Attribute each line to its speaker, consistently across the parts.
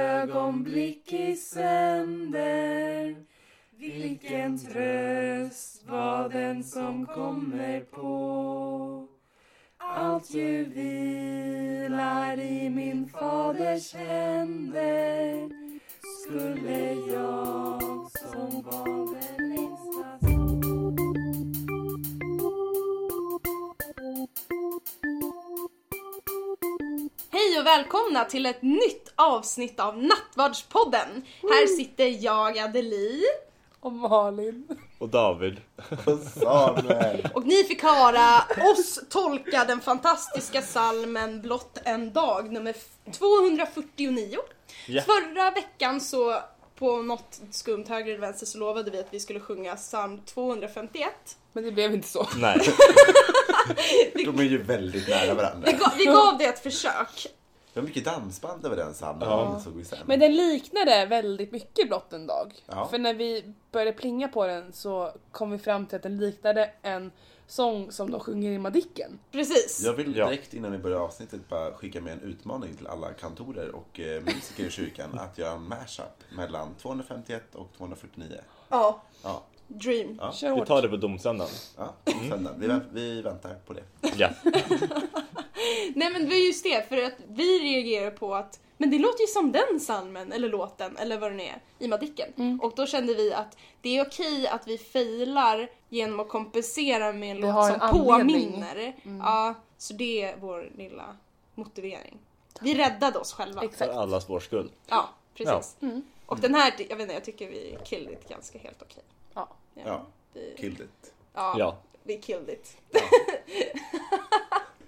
Speaker 1: ögonblick i sänder. Vilken tröst var den som kommer på. Allt ju vilar i min faders händer. Skulle jag som var den längsta
Speaker 2: Hej och välkomna till ett nytt avsnitt av Nattvardspodden. Här sitter jag, Adelie.
Speaker 1: Och Malin.
Speaker 3: Och David.
Speaker 4: Samuel.
Speaker 2: Och ni fick höra oss tolka den fantastiska salmen Blott en dag, nummer f- 249.
Speaker 3: Ja.
Speaker 2: Förra veckan så, på något skumt höger eller vänster, så lovade vi att vi skulle sjunga psalm 251.
Speaker 1: Men det blev inte så.
Speaker 3: Nej.
Speaker 4: De är ju väldigt nära varandra.
Speaker 2: Vi gav, vi gav det ett försök.
Speaker 4: Det var mycket dansband över den sanden.
Speaker 3: Ja.
Speaker 4: Ja. Såg vi sen.
Speaker 1: Men den liknade väldigt mycket blott en dag.
Speaker 4: Ja.
Speaker 1: För när vi började plinga på den så kom vi fram till att den liknade en sång som de sjunger i Madicken.
Speaker 2: Precis.
Speaker 4: Jag vill
Speaker 3: Ja.
Speaker 4: direkt innan vi börjar avsnittet bara skicka med en utmaning till alla kantorer och eh, musiker i kyrkan att göra en mashup mellan 251 och 249.
Speaker 2: Ja.
Speaker 4: Ja,
Speaker 2: Dream.
Speaker 4: Ja.
Speaker 1: Kör
Speaker 3: Vi
Speaker 1: hårt.
Speaker 3: tar det på domsöndagen.
Speaker 4: ja
Speaker 3: Mm.
Speaker 4: söndag. Vi, vä- vi väntar på det.
Speaker 3: Ja.
Speaker 2: Nej men det var just det, för att vi reagerar på att men det låter ju som den salmen eller låten eller vad det nu är i Madicken.
Speaker 1: Mm.
Speaker 2: Och då kände vi att det är okej att vi failar genom att kompensera med en
Speaker 1: Vi
Speaker 2: låt
Speaker 1: har
Speaker 2: som
Speaker 1: en anledning. Mm.
Speaker 2: påminner. Ja, så det är vår lilla motivering. Vi räddade oss själva.
Speaker 3: För
Speaker 1: Exakt. Mm.
Speaker 3: allas vår skull.
Speaker 2: Ja, precis. Och den här, jag vet inte, jag tycker vi killed it ganska helt okej.
Speaker 1: Ja.
Speaker 4: Ja,
Speaker 2: Vi-
Speaker 4: killed it.
Speaker 2: ja.
Speaker 3: Ja.
Speaker 2: Vi killed it.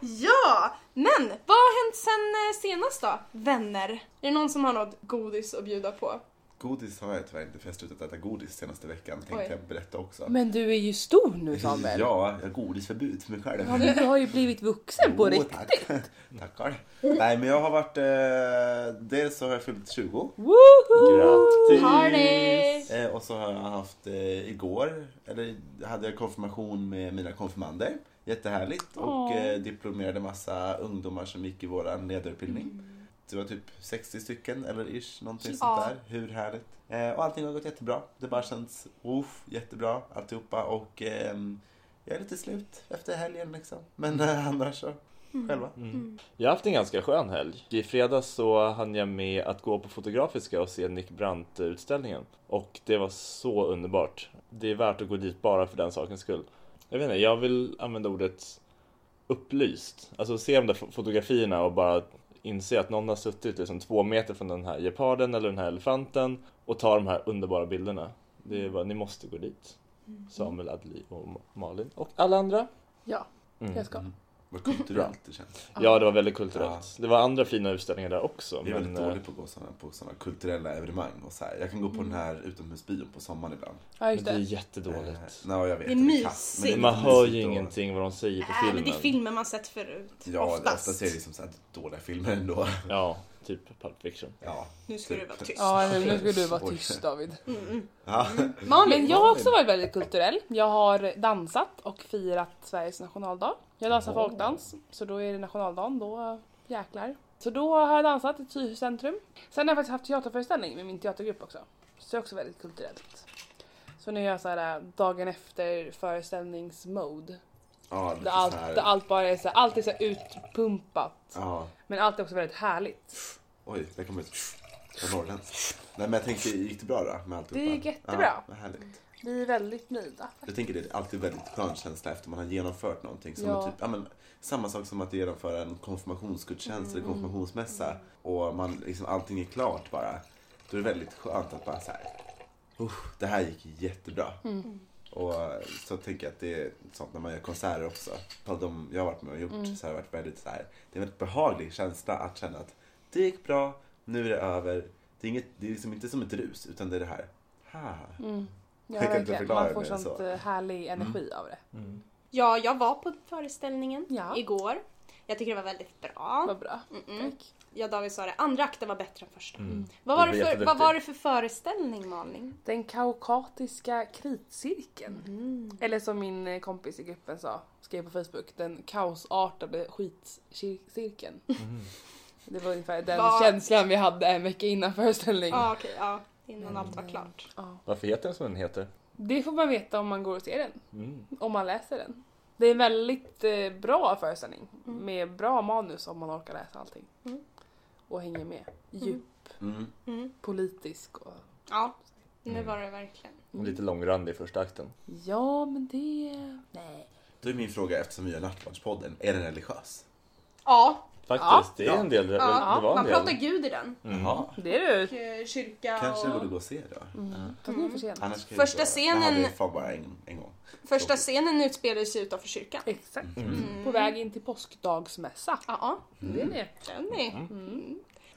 Speaker 2: ja, men vad har hänt sen eh, senast då? Vänner. Är det någon som har något godis att bjuda på?
Speaker 4: Godis har jag tyvärr inte för jag har slutat äta godis senaste veckan tänkte
Speaker 2: Oj.
Speaker 4: jag berätta också.
Speaker 1: Men du är ju stor nu Samuel.
Speaker 4: Ja, jag har godisförbud för mig själv.
Speaker 1: Ja, men du har ju blivit vuxen på
Speaker 4: Jo,
Speaker 1: riktigt.
Speaker 4: Tack. Tackar. Nej, men jag har varit... Eh, dels så har jag fyllt 20.
Speaker 1: Woho!
Speaker 3: Grattis!
Speaker 2: Party!
Speaker 4: Eh, och så har jag haft eh, igår, eller hade jag konfirmation med mina konfirmander. Jättehärligt. Och
Speaker 1: Åh.
Speaker 4: eh, diplomerade massa ungdomar som gick i vår ledarutbildning. Det var typ 60 stycken eller ish, någonting sånt
Speaker 2: Ja.
Speaker 4: där. Hur härligt. Eh, och allting har gått jättebra. Det bara känns oof, jättebra alltihopa. Och ehm, jag är lite slut efter helgen liksom. Men eh, annars så, själva.
Speaker 3: Jag har haft en ganska skön helg. I fredags så hann jag med att gå på Fotografiska och se Nick Brandt-utställningen. Och det var så underbart. Det är värt att gå dit bara för den sakens skull. Jag vet inte, jag vill använda ordet upplyst. Alltså se de där fo- fotografierna och bara inse att någon har suttit liksom två meter från den här geparden eller den här elefanten och ta de här underbara bilderna. Det är bara, ni måste gå dit. Samuel, Adli och Ma- Malin och alla andra.
Speaker 1: Ja, jag ska.
Speaker 4: Vad kulturellt det känns.
Speaker 3: Ja, det var väldigt kulturellt. Det var andra fina utställningar där också.
Speaker 4: Jag är väldigt
Speaker 3: eh,
Speaker 4: dålig på att gå såna, på sådana kulturella evenemang. Och så här. Jag kan gå på den
Speaker 3: Mm.
Speaker 4: här utomhusbion på sommaren ibland.
Speaker 1: Ja,
Speaker 3: men
Speaker 1: just
Speaker 3: det är
Speaker 1: det.
Speaker 3: jättedåligt.
Speaker 4: Eh, nej, jag vet,
Speaker 2: Det är
Speaker 4: kass, men
Speaker 2: mysigt.
Speaker 4: lite
Speaker 3: Man hör ju
Speaker 4: mysigt och-
Speaker 3: ingenting vad de säger på
Speaker 2: Äh, men
Speaker 3: filmen.
Speaker 2: det är filmer man sett förut.
Speaker 4: Ja,
Speaker 2: oftast.
Speaker 4: oftast är det som så här dåliga filmer ändå.
Speaker 3: Ja, typ Pulp Fiction.
Speaker 4: Ja,
Speaker 2: Nu ska
Speaker 4: typ.
Speaker 2: du vara tyst.
Speaker 1: Ja, nu ska du vara
Speaker 4: Oj.
Speaker 1: tyst David.
Speaker 4: Ja.
Speaker 1: Mm. Men jag har också varit väldigt kulturell. Jag har dansat och firat Sveriges nationaldag. Jag dansar folkdans, så då är det nationaldagen, då eh, jäklar. Så då har jag dansat i Tyresö centrum. Sen har jag faktiskt haft teaterföreställning med min teatergrupp också. Så det är också väldigt kulturellt. Så nu är jag så här eh, dagen efter föreställningsmode.
Speaker 4: Ja, lite
Speaker 1: Där
Speaker 4: så
Speaker 1: allt,
Speaker 4: här.
Speaker 1: där allt bara är så här, allt är så här utpumpat.
Speaker 4: Ja.
Speaker 1: Men allt är också väldigt härligt.
Speaker 4: Oj, det kom ut. Vad norrländskt. Nej, men jag tänkte, gick det bra då? Med alltihopa?
Speaker 1: Det gick jättebra.
Speaker 4: Ja, vad härligt.
Speaker 1: Vi är väldigt nöjda.
Speaker 4: Jag tänker det är alltid väldigt skön känsla efter man har genomfört någonting. Som
Speaker 1: Ja.
Speaker 4: en Typ, ja, men, samma sak som att genomföra en konfirmationsgudstjänst eller konfirmationsmässa och man, liksom, allting är klart bara. Då är det väldigt skönt att bara så här, "Uff, det här gick jättebra. Och så tänker jag att det är sånt när man gör konserter också. På de jag har varit med och gjort så har det varit väldigt så här, det är en väldigt behaglig känsla att känna att det gick bra, nu är det över. Det är, inget, det är liksom inte som ett rus utan det är det här, ha.
Speaker 1: Ja,
Speaker 4: Jag kan inte
Speaker 1: verkligen.
Speaker 4: förklara
Speaker 1: Man får
Speaker 4: det mer än
Speaker 1: sånt
Speaker 4: så. Mm.
Speaker 1: eh, härlig energi av det.
Speaker 2: Ja, jag var på föreställningen
Speaker 1: Ja.
Speaker 2: igår. Jag tycker det var väldigt bra.
Speaker 1: Vad bra. Tack.
Speaker 2: Jag David sa det, andra akten var bättre än första. Vad, var
Speaker 3: Mm.
Speaker 2: det
Speaker 3: Det var
Speaker 2: för, vad
Speaker 3: jätteduktigt.
Speaker 2: var det för föreställning, Malin?
Speaker 1: Den kaukatiska kritcirkeln. Eller som min eh, kompis i
Speaker 4: Mm.
Speaker 1: gruppen sa, skrev på Facebook, den kaosartade skitcirkeln. Det var ungefär den
Speaker 2: Vad-
Speaker 1: känslan vi hade en vecka innan föreställning.
Speaker 2: Ja, okej, ja. Innan allt
Speaker 3: Mm.
Speaker 2: var klart.
Speaker 1: Ja.
Speaker 3: Varför heter den som den heter?
Speaker 1: Det får man veta om man går och ser den.
Speaker 3: Mm.
Speaker 1: Om man läser den. Det är en väldigt eh, bra föreställning med bra manus om man orkar läsa allting.
Speaker 2: Mm.
Speaker 1: Och hänger med. Djup,
Speaker 4: Mm.
Speaker 2: Mm.
Speaker 1: politisk och...
Speaker 2: Ja, det
Speaker 3: Mm.
Speaker 2: var det verkligen.
Speaker 3: Och Lite långrandig i första akten.
Speaker 1: Ja, men det... Nej.
Speaker 4: Då är min fråga, eftersom vi gör Natttvardspodden, är den religiös?
Speaker 2: Ja,
Speaker 3: Faktiskt, det är
Speaker 4: Ja.
Speaker 3: en del.
Speaker 2: ja.
Speaker 3: Det var en
Speaker 2: man pratar
Speaker 3: del.
Speaker 2: gud i den.
Speaker 3: Mm.
Speaker 4: Jaha,
Speaker 1: Det är du.
Speaker 2: Och eh, kyrka
Speaker 4: kanske jag
Speaker 2: och...
Speaker 4: borde gå och se då. Ja.
Speaker 1: Fast ni är för sena.
Speaker 4: Annars kan
Speaker 2: Mm. Första
Speaker 4: jag inte göra det.
Speaker 2: scenen-
Speaker 4: Jag hade fan bara en, en gång.
Speaker 2: Första scenen utspelar sig utanför kyrkan.
Speaker 1: Exakt.
Speaker 3: Mm.
Speaker 1: På väg in till påskdagsmässa.
Speaker 2: Ja,
Speaker 4: Mm.
Speaker 1: Det är det.
Speaker 2: känner ni?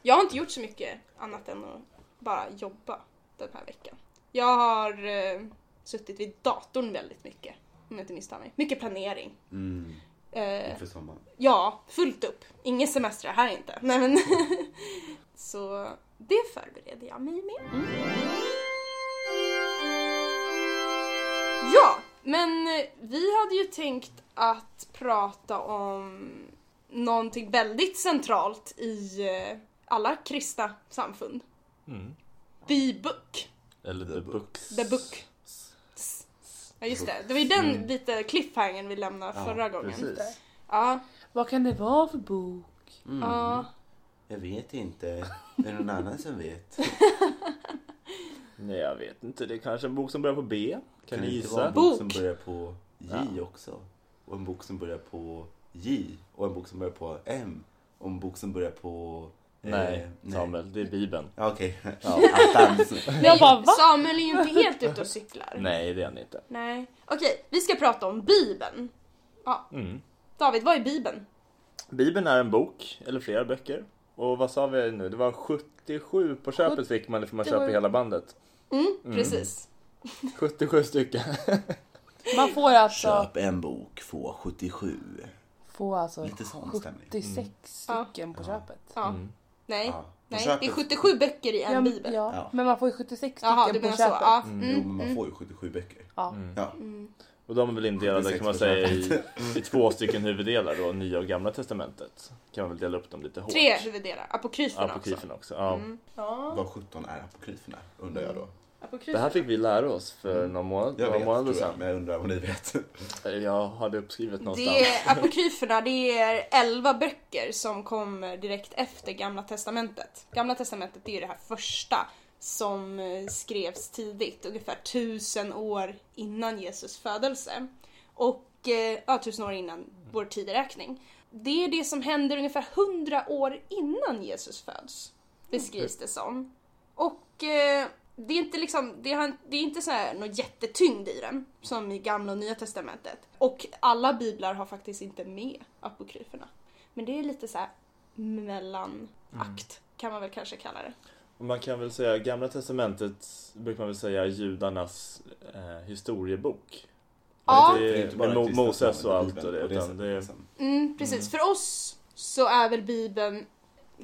Speaker 2: Jag har inte gjort så mycket annat än att bara jobba den här veckan. Jag har eh, suttit vid datorn väldigt mycket, om jag inte misstar mig. Mycket planering.
Speaker 4: Mm.
Speaker 2: Eh,
Speaker 4: Inför sommaren.
Speaker 2: ja, fullt upp. Ingen semester här inte. Nej, men så det förbereder jag mig med. Ja, men eh, vi hade ju tänkt att prata om någonting väldigt centralt i eh, alla kristna samfund.
Speaker 3: Mm.
Speaker 2: The book.
Speaker 3: Eller The Books.
Speaker 2: The book. Ja just det, det var ju den lite cliffhangern vi lämnade
Speaker 4: Mm. Ja,
Speaker 2: förra gången.
Speaker 4: Precis.
Speaker 2: Ja,
Speaker 1: Vad kan det vara för bok?
Speaker 4: Mm.
Speaker 2: ja.
Speaker 4: Jag vet inte. Är det någon annan som vet?
Speaker 3: Nej, jag vet inte. Det är kanske en bok som börjar på B. Kan
Speaker 4: det
Speaker 3: ni
Speaker 4: inte vara
Speaker 3: gissa?
Speaker 4: en bok som
Speaker 2: Bok.
Speaker 4: börjar på J
Speaker 3: Ja.
Speaker 4: också? Och en bok som börjar på J. Och en bok som börjar på M. Och en bok som börjar på... eh,
Speaker 3: Nej, Samuel. Det är Bibeln.
Speaker 4: Ja, Okej. Attans.
Speaker 1: Jag bara va?
Speaker 2: Samuel är ju inte helt ute och cyklar.
Speaker 3: Nej, det är han inte.
Speaker 2: Nej. Okej, vi ska prata om Bibeln.
Speaker 3: Mm.
Speaker 2: David, vad är Bibeln?
Speaker 3: Bibeln är en bok, eller flera böcker. Och vad sa vi nu? Det var 77 på köpet fick man, för man köper
Speaker 1: 77.
Speaker 3: hela bandet.
Speaker 2: Mm, precis.
Speaker 3: 77 stycken.
Speaker 1: Man får alltså...
Speaker 4: Köp en bok, få 77.
Speaker 1: Få alltså
Speaker 4: Lite sån stämning.
Speaker 1: 76 stycken på köpet.
Speaker 2: Mm. Ja.
Speaker 3: Mm.
Speaker 2: Nej,
Speaker 4: Ja. På
Speaker 2: nej.
Speaker 4: köpet.
Speaker 2: Det är 77 böcker i en
Speaker 1: Ja,
Speaker 2: bibel.
Speaker 1: Ja,
Speaker 4: Ja.
Speaker 1: men man får ju 76
Speaker 2: Jaha, du
Speaker 1: stycken
Speaker 2: menar
Speaker 1: på
Speaker 2: så.
Speaker 1: köpet. Mm.
Speaker 2: Ja.
Speaker 4: Jo,
Speaker 2: Mm.
Speaker 4: men man får ju 77 böcker.
Speaker 1: Ja.
Speaker 4: Ja.
Speaker 3: Och de är väl indelade
Speaker 4: 76
Speaker 3: kan man säga i, i två stycken huvuddelar då, Nya och Gamla Testamentet. Kan man väl dela upp dem lite hårt.
Speaker 2: Tre Mm. huvuddelar. Apokryferna också.
Speaker 3: Apokryferna
Speaker 4: alltså.
Speaker 3: också. Ja.
Speaker 2: Ja.
Speaker 4: Vad 17 är apokryferna? Undrar jag då.
Speaker 3: Det
Speaker 2: Apokryferna.
Speaker 3: här fick vi lära oss för några månader,
Speaker 4: Mm. Jag
Speaker 3: några
Speaker 4: vet,
Speaker 3: månader
Speaker 4: tror jag,
Speaker 3: sedan.
Speaker 4: men jag undrar om ni vet.
Speaker 3: Jag hade uppskrivet någonstans.
Speaker 2: Det är, apokryferna det är elva böcker som kommer direkt efter Gamla Testamentet. Gamla Testamentet det är ju det här första som eh, skrevs tidigt, ungefär tusen år innan Jesus födelse. Och eh, ja, tusen år innan vår tideräkning. Det är det som händer ungefär hundra år innan Jesus föds, beskrivs det som. Och eh, det är inte liksom, det, har, det är inte så här någon jättetyngd i den som i gamla och nya testamentet. Och alla biblar har faktiskt inte med apokryferna. Men det är lite så här mellanakt kan man väl kanske kalla det.
Speaker 3: Och Man kan väl säga, Gamla Testamentet brukar man väl säga är judarnas eh, historiebok.
Speaker 2: Ja.
Speaker 3: Det är-
Speaker 4: Det är inte bara
Speaker 3: med Mo-
Speaker 4: kristna
Speaker 3: Moses och
Speaker 4: som
Speaker 3: allt
Speaker 4: Bibeln
Speaker 3: och det.
Speaker 4: på
Speaker 3: Utan
Speaker 4: sättet,
Speaker 3: det är,
Speaker 4: liksom.
Speaker 2: Mm, precis. För oss så är väl Bibeln,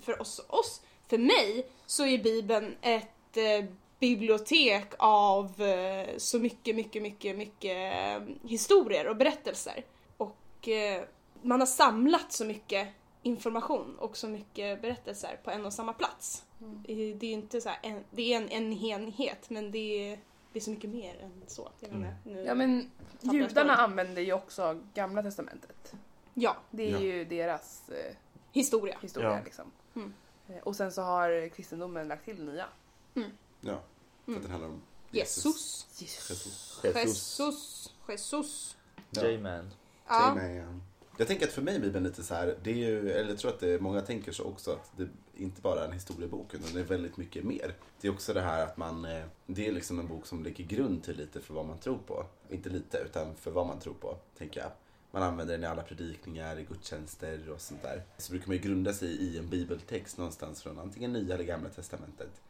Speaker 2: för oss och oss, för mig så är Bibeln ett eh, bibliotek av eh, så mycket, mycket, mycket, mycket eh, historier och berättelser. Och eh, man har samlat så mycket information och så mycket berättelser på en och samma plats. Eh, Det är ju inte så här, en, det är en, en enhet men det är, det är så mycket mer än så. Jag menar, nu.
Speaker 1: Ja men judarna använder ju också gamla testamentet.
Speaker 2: ja,
Speaker 1: Det är
Speaker 4: Ja.
Speaker 1: ju deras eh,
Speaker 2: historia.
Speaker 1: historia
Speaker 3: Ja.
Speaker 1: liksom.
Speaker 2: Mm.
Speaker 1: Eh, Och sen så har kristendomen lagt till nya.
Speaker 4: Ja, för att den handlar om
Speaker 2: Jesus.
Speaker 4: Jesus.
Speaker 2: Jesus. Jesus.
Speaker 4: Ja.
Speaker 3: J-man.
Speaker 4: Säg
Speaker 2: Ja.
Speaker 4: mig, ehm, Jag tänker att för mig är Bibeln lite så här, det är ju, eller jag tror att det, är- många tänker så också, att det inte bara är en historiebok utan det är väldigt mycket mer. Det är också det här att man, eh, det är liksom en bok som lägger grund till lite för vad man tror på. Inte lite, utan för vad man tror på, tänker jag. Man använder den i alla predikningar, i gudstjänster och sånt där. Så brukar man ju grunda sig i en bibeltext någonstans från antingen nya eller gamla testamentet.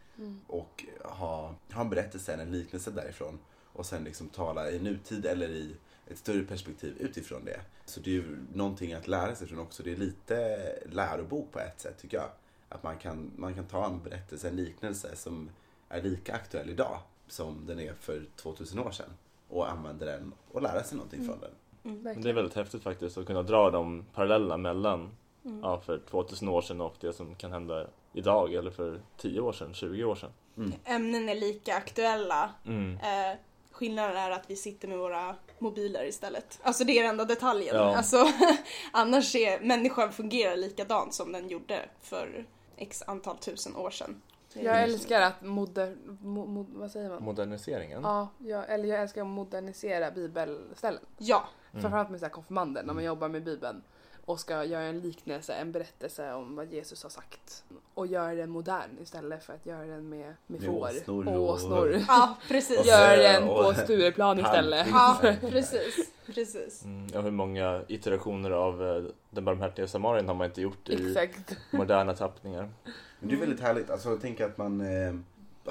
Speaker 4: Och ha, ha en berättelse, en liknelse därifrån. Och sen liksom tala i nutid eller i ett större perspektiv utifrån det. Så det är ju någonting att lära sig från också. Det är lite lärobok på ett sätt tycker jag. Att man kan, man kan ta en berättelse, en liknelse som är lika aktuell idag som den är för 2000 år sedan. Och använda den och lära sig någonting från den.
Speaker 3: Det är väldigt häftigt faktiskt att kunna dra de parallellerna mellan ja, för 2000 år sedan och det som kan hända idag eller för 10 år sedan, 20 år sedan.
Speaker 2: Ämnen är lika aktuella.
Speaker 3: Mm.
Speaker 2: Eh, skillnaden är att vi sitter med våra mobiler istället. Alltså det är den enda detaljen.
Speaker 3: Ja.
Speaker 2: Alltså, annars är människan fungerar likadant som den gjorde för x antal tusen år sedan.
Speaker 1: Jag älskar att moder... Mo, mo, vad säger man?
Speaker 3: Moderniseringen?
Speaker 1: Ja, jag, eller jag älskar att modernisera bibelställen.
Speaker 2: Ja,
Speaker 4: Mm.
Speaker 1: Framförallt med så här konfirmanden när man jobbar med bibeln och ska göra en liknelse, en berättelse om vad Jesus har sagt. Och göra den modern istället för att göra den med, med
Speaker 4: Med
Speaker 1: får
Speaker 4: åsnor
Speaker 1: och
Speaker 4: och-
Speaker 1: åsnor.
Speaker 2: ja precis.
Speaker 4: Ja.
Speaker 1: Gör den
Speaker 4: och- Alltså,
Speaker 1: på Stureplan istället.
Speaker 2: Ja, precis. precis.
Speaker 3: Mm, ja, hur många iterationer av eh, Den barmhärtige samarien har man inte gjort i
Speaker 1: Exakt.
Speaker 3: moderna tappningar?
Speaker 4: Men det är väldigt härligt. Alltså, jag tänker att man eh,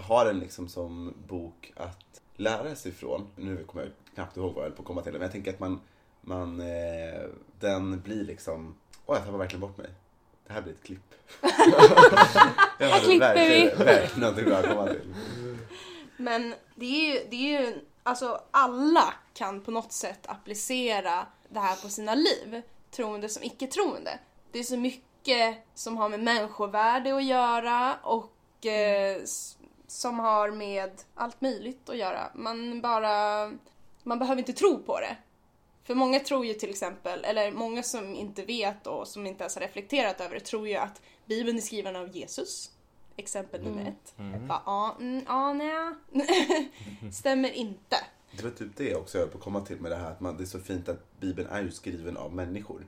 Speaker 4: har den liksom som bok att lära sig från. Nu kommer jag knappt ihåg vad jag höll på att komma till. Men jag tänker att man, man eh, den blir liksom... Åh, jag tappade verkligen bort mig. Det här blir ett klipp. jag hade
Speaker 1: klipper
Speaker 4: verkligen, verkligen någonting bra att komma till.
Speaker 2: Men det är ju, det är ju alltså alla kan på något sätt applicera det här på sina liv. Troende som icke-troende. Det är så mycket som har med människovärde att göra och eh, s- som har med allt möjligt att göra. Man bara, man behöver inte tro på det. För många tror ju till exempel, eller många som inte vet och som inte ens har reflekterat över det, tror ju att Bibeln är skriven av Jesus. Exempel nummer ett. Bara, ja, mm, ja, nej. Stämmer inte.
Speaker 4: Det var typ det också jag höll på att komma till med det här att man, det är så fint att Bibeln är ju skriven av människor.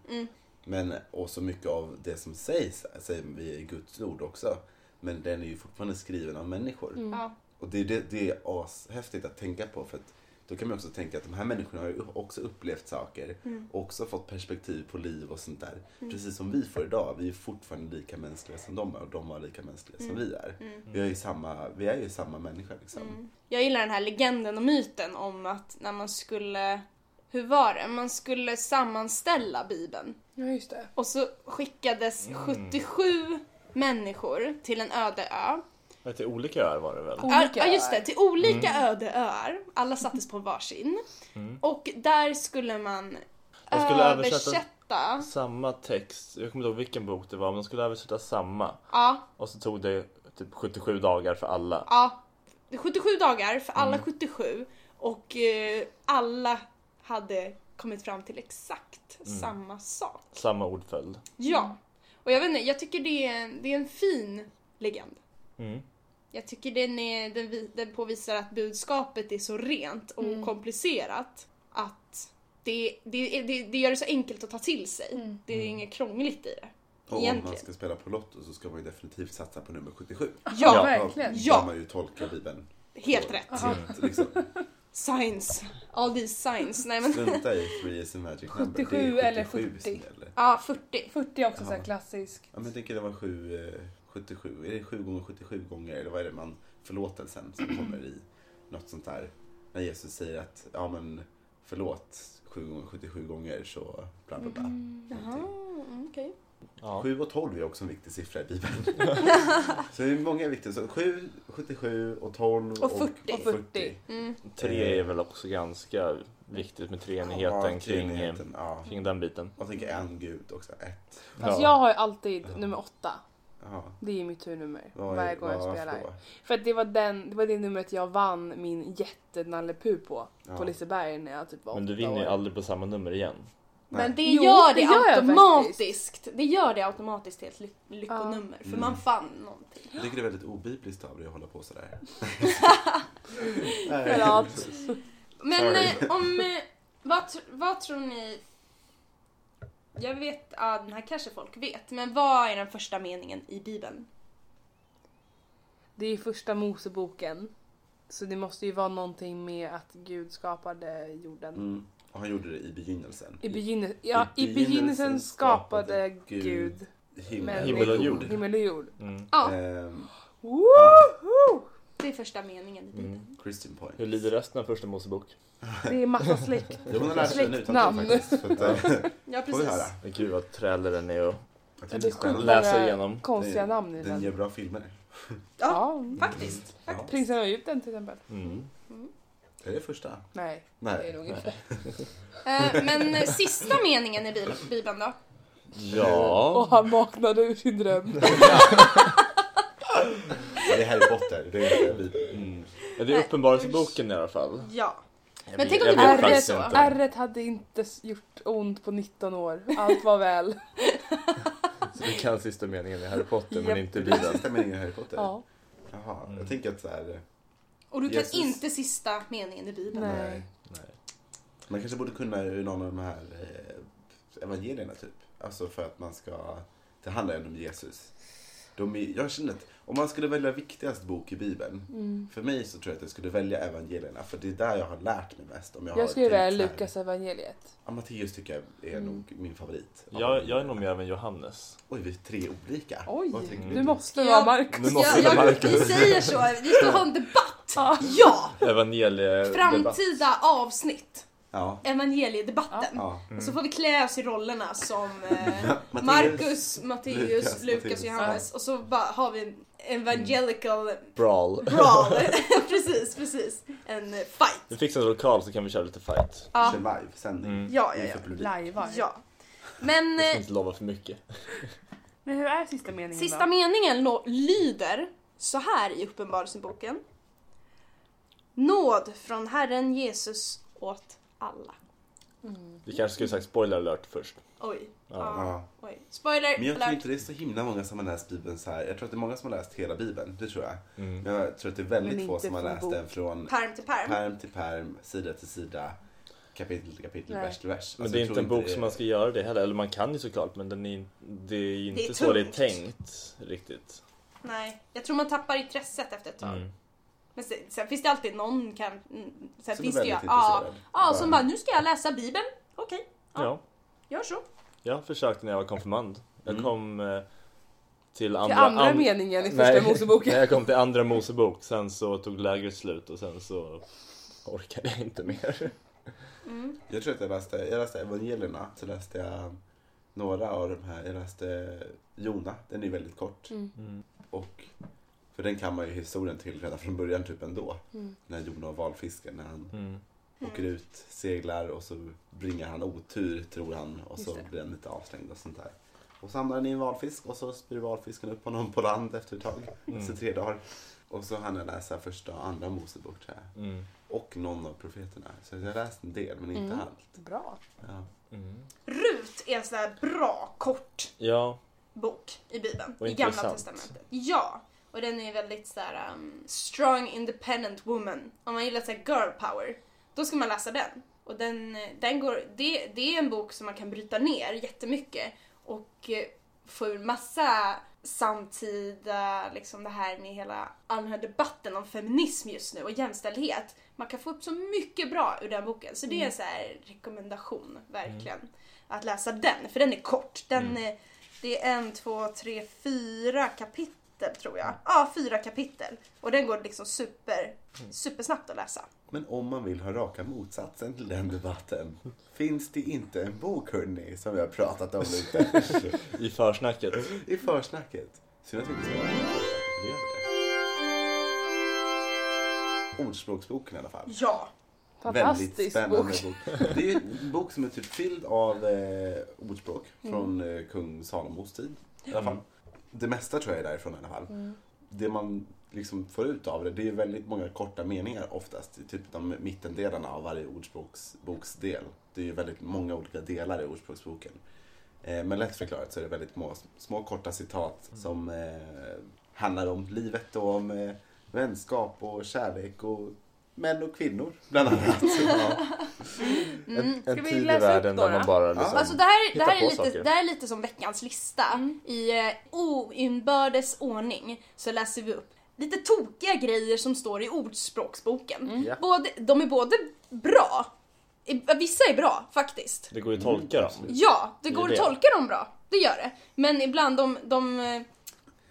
Speaker 4: Men, och så mycket av det som sägs säger vi i Guds ord också. Men den är ju fortfarande skriven av människor.
Speaker 2: Ja.
Speaker 4: Och det, är det, det är ashäftigt att tänka på för att då kan man också tänka att de här människorna har ju också upplevt saker.
Speaker 2: Mm.
Speaker 4: Också fått perspektiv på liv och sånt där. Precis som vi får idag. Vi är fortfarande lika mänskliga som de är och de var lika mänskliga
Speaker 2: Mm.
Speaker 4: som vi är. Vi, är ju samma, vi är ju samma människa liksom.
Speaker 2: Jag gillar den här legenden och myten om att när man skulle, hur var det, man skulle sammanställa Bibeln.
Speaker 1: Ja, just det.
Speaker 2: Och så skickades 77 människor till en öde ö.
Speaker 3: Ja, Till olika öar var det väl?
Speaker 1: Olika
Speaker 2: ja, just det,
Speaker 1: öar.
Speaker 2: till olika öde öar. Alla sattes på varsin. Och där skulle Mm. man
Speaker 3: De skulle översätta-
Speaker 2: översätta.
Speaker 3: Samma text, jag kommer inte ihåg vilken bok det var, men de skulle översätta samma.
Speaker 2: Ja,
Speaker 3: Och så tog det typ 77 dagar för alla.
Speaker 2: Ja, det är 77 dagar för alla 77 och eh, alla hade kommit fram till exakt samma sak.
Speaker 3: Samma ordföljd.
Speaker 2: Ja, och jag vet inte, jag tycker det är, det är en fin legend.
Speaker 3: Mm.
Speaker 2: Jag tycker den, är, den, vi- den påvisar att budskapet är så rent och komplicerat att det, det, det, det gör det så enkelt att ta till sig. Det är inget krångligt i det.
Speaker 4: Och om man
Speaker 2: Egentligen.
Speaker 4: ska spela på Lotto så ska man ju definitivt satsa på nummer 77.
Speaker 1: Ja,
Speaker 2: Ja,
Speaker 1: verkligen.
Speaker 4: Då
Speaker 2: Ja.
Speaker 4: kan man ju tolka Bibeln.
Speaker 2: helt rätt.
Speaker 4: Helt, liksom,
Speaker 2: Science. All these science. Nej, men...
Speaker 4: strunta i three is a magic number.
Speaker 1: 77
Speaker 4: Det är
Speaker 1: eller
Speaker 4: 77 som
Speaker 1: 70.
Speaker 4: gäller.
Speaker 2: Ja, 40.
Speaker 1: 40 är också så här klassisk.
Speaker 4: Ja, men jag tänker det var 7, 77. Är det 7 gånger 77 gånger? Eller vad är det man förlåtelsen
Speaker 1: Mm.
Speaker 4: som kommer i något sånt där? När Jesus säger att ja men förlåt 7 gånger 77 gånger så bla bla bla.
Speaker 2: Jaha,
Speaker 4: Någonting.
Speaker 2: mm, okej.
Speaker 3: Ja.
Speaker 4: 7 och 12 är också en viktig siffra i Bibeln. så det är många viktiga. Så 7, 77 och 12
Speaker 2: Och 40.
Speaker 1: Och 40.
Speaker 2: Mm.
Speaker 3: Tre är väl också ganska viktigt med treenigheten
Speaker 4: Ja,
Speaker 3: kring, eh,
Speaker 4: treenigheten, ja.
Speaker 3: kring den biten.
Speaker 4: Och tänker en gud också, ett.
Speaker 1: Alltså jag har ju alltid nummer åtta.
Speaker 4: Ja.
Speaker 1: Det är mitt turnummer
Speaker 4: Vad är-
Speaker 1: varje gång jag
Speaker 4: vad-
Speaker 1: spelar.
Speaker 4: varför
Speaker 1: För att det var, den, det var det numret jag vann min jätte-Nalle Puh på. På
Speaker 4: Ja.
Speaker 1: Liseberg när jag typ var
Speaker 3: Men du
Speaker 1: åtta
Speaker 3: vinner ju
Speaker 1: år.
Speaker 3: aldrig på samma nummer igen.
Speaker 2: Men det
Speaker 1: Jo,
Speaker 2: gör
Speaker 1: det
Speaker 2: det,
Speaker 1: gör jag
Speaker 2: automatiskt. Det gör det automatiskt till ett ly- lyckonummer. För man fann någonting.
Speaker 4: Jag tycker det är väldigt obibliskt av dig att hålla på sådär.
Speaker 1: Förlåt.
Speaker 2: Men
Speaker 4: Sorry.
Speaker 2: eh, om... Eh, vad, tr- vad tror ni... Jag vet, ja den här kanske folk vet, men vad är den första meningen i Bibeln?
Speaker 1: Det är första Moseboken. Så det måste ju vara någonting med att Gud skapade jorden.
Speaker 4: Mm. Och han gjorde det i begynnelsen.
Speaker 1: I, begynne- ja, I begynnelsen skapade Gud,
Speaker 4: himmel,
Speaker 1: människor.
Speaker 3: Himmel och jord.
Speaker 1: Himmel och jord.
Speaker 3: Mm.
Speaker 2: Ja,
Speaker 4: Ehm,
Speaker 1: Woho!
Speaker 2: det är första meningen i Bibeln.
Speaker 4: Christian point.
Speaker 3: Mm. Hur lyder resten av första Mosebok?
Speaker 1: Det är massa släkt.
Speaker 4: Jo, hon har lärt sig den utan
Speaker 1: Släktnamn.
Speaker 4: faktiskt. Så att, eh,
Speaker 2: Ja,
Speaker 4: får vi
Speaker 2: precis.
Speaker 4: höra.
Speaker 3: Men Gud vad trälig den är och
Speaker 4: Jag
Speaker 1: Det
Speaker 4: tycker
Speaker 1: är
Speaker 4: spännande.
Speaker 1: sjukt
Speaker 3: Läsa
Speaker 1: många
Speaker 3: igenom.
Speaker 1: konstiga
Speaker 4: Den-
Speaker 1: namn i
Speaker 4: Den gör
Speaker 1: den.
Speaker 4: bra filmer.
Speaker 1: Ja.
Speaker 2: Faktiskt.
Speaker 4: Ja.
Speaker 1: Prinsen av Egypten till exempel.
Speaker 3: Mm.
Speaker 4: Är det första?
Speaker 1: Nej, det är
Speaker 4: Nej.
Speaker 1: nog inte.
Speaker 2: Eh, men eh, sista meningen i Bibeln- Bibeln då?
Speaker 1: Och
Speaker 3: Ja.
Speaker 1: han vaknade ur sin dröm.
Speaker 4: Det är Harry Potter. Det är inte vi.
Speaker 3: Mm. Ja, Det är uppenbarelseboken i alla fall.
Speaker 2: Ja.
Speaker 4: Jag
Speaker 2: Men
Speaker 4: vet-
Speaker 2: tänk om
Speaker 3: jag
Speaker 2: det
Speaker 3: vet
Speaker 2: bara är
Speaker 3: faktiskt
Speaker 2: så.
Speaker 3: inte.
Speaker 1: Ärret hade inte s- gjort ont på 19 år. Allt var väl.
Speaker 3: Så du kan sista meningen i Harry Potter men
Speaker 1: Japp.
Speaker 3: inte
Speaker 4: Det är
Speaker 3: Bibeln.
Speaker 4: sista meningen i Harry Potter?
Speaker 1: Ja.
Speaker 4: Jaha, jag tänker att så här, eh,
Speaker 2: Och du kan
Speaker 4: Jesus.
Speaker 2: inte sista meningen i Bibeln.
Speaker 1: Nej.
Speaker 4: man kanske borde kunna ur någon av de här eh, evangelierna typ. Alltså för att man ska, det handlar ändå om Jesus. De är, jag känner att om man skulle välja viktigast bok i Bibeln,
Speaker 1: Mm.
Speaker 4: för mig så tror jag att jag skulle välja evangelierna. För det är där jag har lärt mig mest. Om jag,
Speaker 1: Jag skulle välja
Speaker 4: skriver
Speaker 1: Lukas Mm. evangeliet.
Speaker 4: Ja, Matteus tycker jag är nog min favorit.
Speaker 3: Jag, jag är nog med även Johannes.
Speaker 4: Oj, vi är tre olika.
Speaker 1: Oj,
Speaker 4: Vad tänker
Speaker 1: du måste
Speaker 2: Ja.
Speaker 1: vara Marcus.
Speaker 3: Nu måste
Speaker 2: Ja,
Speaker 3: jag
Speaker 2: jag,
Speaker 3: märka
Speaker 2: vi säger så, vi ska ha en debatt. Ja!
Speaker 4: Eh,
Speaker 3: evangeliedebatt.
Speaker 2: Framtida avsnitt.
Speaker 4: Ja.
Speaker 2: Evangeliedebatten.
Speaker 4: ja. Mm.
Speaker 2: Och så får vi klä oss i rollerna som eh,
Speaker 4: Matteus.
Speaker 2: Marcus, Matteus,
Speaker 4: Lukas,
Speaker 2: Lukas
Speaker 4: Matteus.
Speaker 2: och Johannes. Och så bara har vi en evangelical
Speaker 4: Mm.
Speaker 3: Brawl.
Speaker 2: brawl. precis, precis. En eh,
Speaker 3: Vi
Speaker 2: fight.
Speaker 3: fixar en lokal så kan vi köra lite fight.
Speaker 2: Ja.
Speaker 4: Kör livesändning.
Speaker 3: Mm.
Speaker 2: Ja, ja, ja.
Speaker 4: Inför publik.
Speaker 1: Lajvar.
Speaker 2: ja. Men
Speaker 3: Jag
Speaker 2: eh,
Speaker 3: ska inte lova för mycket.
Speaker 1: Men hur är sista meningen
Speaker 2: Sista
Speaker 1: då?
Speaker 2: meningen nå- lyder så här i Uppenbarelseboken. Nåd från Herren Jesus åt alla.
Speaker 3: Vi kanske skulle sagt spoiler alert först.
Speaker 2: Oj.
Speaker 3: Ja.
Speaker 2: Ja.
Speaker 4: Ja.
Speaker 2: Oj. Spoiler
Speaker 4: Men jag tror
Speaker 2: alert.
Speaker 4: inte det är så himla många som har läst Bibeln så här. Jag tror att det är många som har läst hela Bibeln, det tror jag.
Speaker 3: Mm.
Speaker 4: Men jag tror att det är
Speaker 1: Men
Speaker 4: väldigt få
Speaker 1: inte
Speaker 4: som har
Speaker 1: från
Speaker 4: läst
Speaker 1: bok.
Speaker 4: den från
Speaker 2: Pärm till pärm.
Speaker 4: pärm till pärm, sida till sida, kapitel till kapitel,
Speaker 1: Nej.
Speaker 4: vers till vers. Alltså,
Speaker 3: Men det är
Speaker 4: jag
Speaker 3: inte
Speaker 4: tror
Speaker 3: en bok
Speaker 4: det-
Speaker 3: som man ska göra det heller. Eller man kan ju såklart men den är, det är ju inte
Speaker 2: Det är
Speaker 3: så det är
Speaker 2: tungt.
Speaker 3: tänkt riktigt.
Speaker 2: Nej, jag tror man tappar intresset efter ett tag.
Speaker 3: Mm.
Speaker 2: Men sen, sen finns det alltid någon kan... mm, Sen
Speaker 4: Som är
Speaker 2: finns det ju...
Speaker 4: väldigt
Speaker 2: Ja,
Speaker 4: intresserad.
Speaker 2: ja, som
Speaker 4: Ja.
Speaker 2: bara nu ska jag läsa Bibeln. Okej, Ja.
Speaker 3: Ja.
Speaker 2: gör så.
Speaker 3: Jag försökte när jag var konfirmand. Jag
Speaker 4: Mm.
Speaker 3: kom eh, till
Speaker 1: Till
Speaker 3: andra,
Speaker 1: andra
Speaker 3: an-
Speaker 1: meningen i
Speaker 3: Nej.
Speaker 1: första Moseboken.
Speaker 3: Nej, jag kom till andra Mosebok, sen så tog lägret slut och sen så orkade jag inte mer.
Speaker 4: Jag tror att jag läste, jag läste evangelierna, så läste jag några av de här. Jag läste Jona, den är väldigt kort.
Speaker 1: Mm.
Speaker 4: Och, för den kan man ju historien till redan från början typ ändå.
Speaker 1: Mm.
Speaker 4: När Jona och valfisken, när han
Speaker 3: Mm.
Speaker 4: åker ut, seglar och så bringar han otur tror han och så
Speaker 1: Just det.
Speaker 4: blir han lite avstängd och sånt där. Och så hamnar han i en valfisk och så spyr valfisken upp honom på land efter ett tag,
Speaker 1: Mm.
Speaker 4: efter tre dagar. Och så hann jag läsa första och andra Mosebok tror jag.
Speaker 3: Mm.
Speaker 4: Och någon av profeterna. Så jag har läst en del men
Speaker 1: Mm.
Speaker 4: inte allt.
Speaker 1: Bra.
Speaker 4: Ja.
Speaker 3: Mm.
Speaker 2: Rut är en sån här bra, kort
Speaker 3: Ja,
Speaker 2: bok i Bibeln.
Speaker 3: Och
Speaker 2: I
Speaker 3: intressant.
Speaker 2: Gamla Testamentet. Ja. Och den är väldigt så här um, strong independent woman. Om man gillar så här girl power, då ska man läsa den. Och den, eh, den går, det, det är en bok som man kan bryta ner jättemycket och eh, få ur massa samtida, liksom det här med hela, all den här debatten om feminism just nu och jämställdhet. Man kan få upp så mycket bra ur den boken. Så det är en så här rekommendation, verkligen. Att läsa den, för den är kort. Den, eh, Det är en, två, tre, fyra kapitel tror jag. Ja, fyra kapitel. Och den går liksom super,
Speaker 3: Mm.
Speaker 2: supersnabbt att läsa.
Speaker 4: Men om man vill ha raka motsatsen till den debatten. finns det inte en bok hörni, som vi har pratat om lite
Speaker 3: i försnacket.
Speaker 4: i försnacket. Synd att vi inte ska ha det i försnacket, men det gör det. Ordspråksboken i alla fall.
Speaker 2: Ja.
Speaker 4: Väldigt
Speaker 1: Fantastisk
Speaker 4: spännande
Speaker 1: bok.
Speaker 4: bok. Det är ju en bok som är typ fylld av eh, ordspråk från eh, kung Salomos tid. I alla fall. Det mesta tror jag är därifrån i alla fall.
Speaker 2: Mm.
Speaker 4: Det man liksom får ut av det, det är ju väldigt många korta meningar oftast. i Typ de mittendelarna av varje ordspråksboksdel. Det är ju väldigt många olika delar i ordspråksboken. Eh, men lätt förklarat så är det väldigt små, små korta citat som eh, handlar om livet och om eh, vänskap och kärlek och män och kvinnor bland annat. Ja.
Speaker 3: En
Speaker 1: Mm, vi
Speaker 3: tid i
Speaker 1: läsa upp
Speaker 3: världen där
Speaker 1: några?
Speaker 3: man bara liksom...
Speaker 2: Alltså det här, det
Speaker 3: Hitta
Speaker 2: här, är,
Speaker 3: på
Speaker 2: lite,
Speaker 3: saker.
Speaker 2: det här är lite som veckans lista. I eh, oinbördes ordning så läser vi upp lite tokiga grejer som står i Ordspråksboken.
Speaker 4: Ja.
Speaker 2: Både, de är både bra, i- vissa är bra faktiskt.
Speaker 3: Det går ju att tolka
Speaker 4: Mm,
Speaker 3: dem.
Speaker 2: Ja, det
Speaker 3: Det är
Speaker 2: går
Speaker 3: det.
Speaker 2: att tolka dem bra. Det gör det. Men ibland de, de, eh, de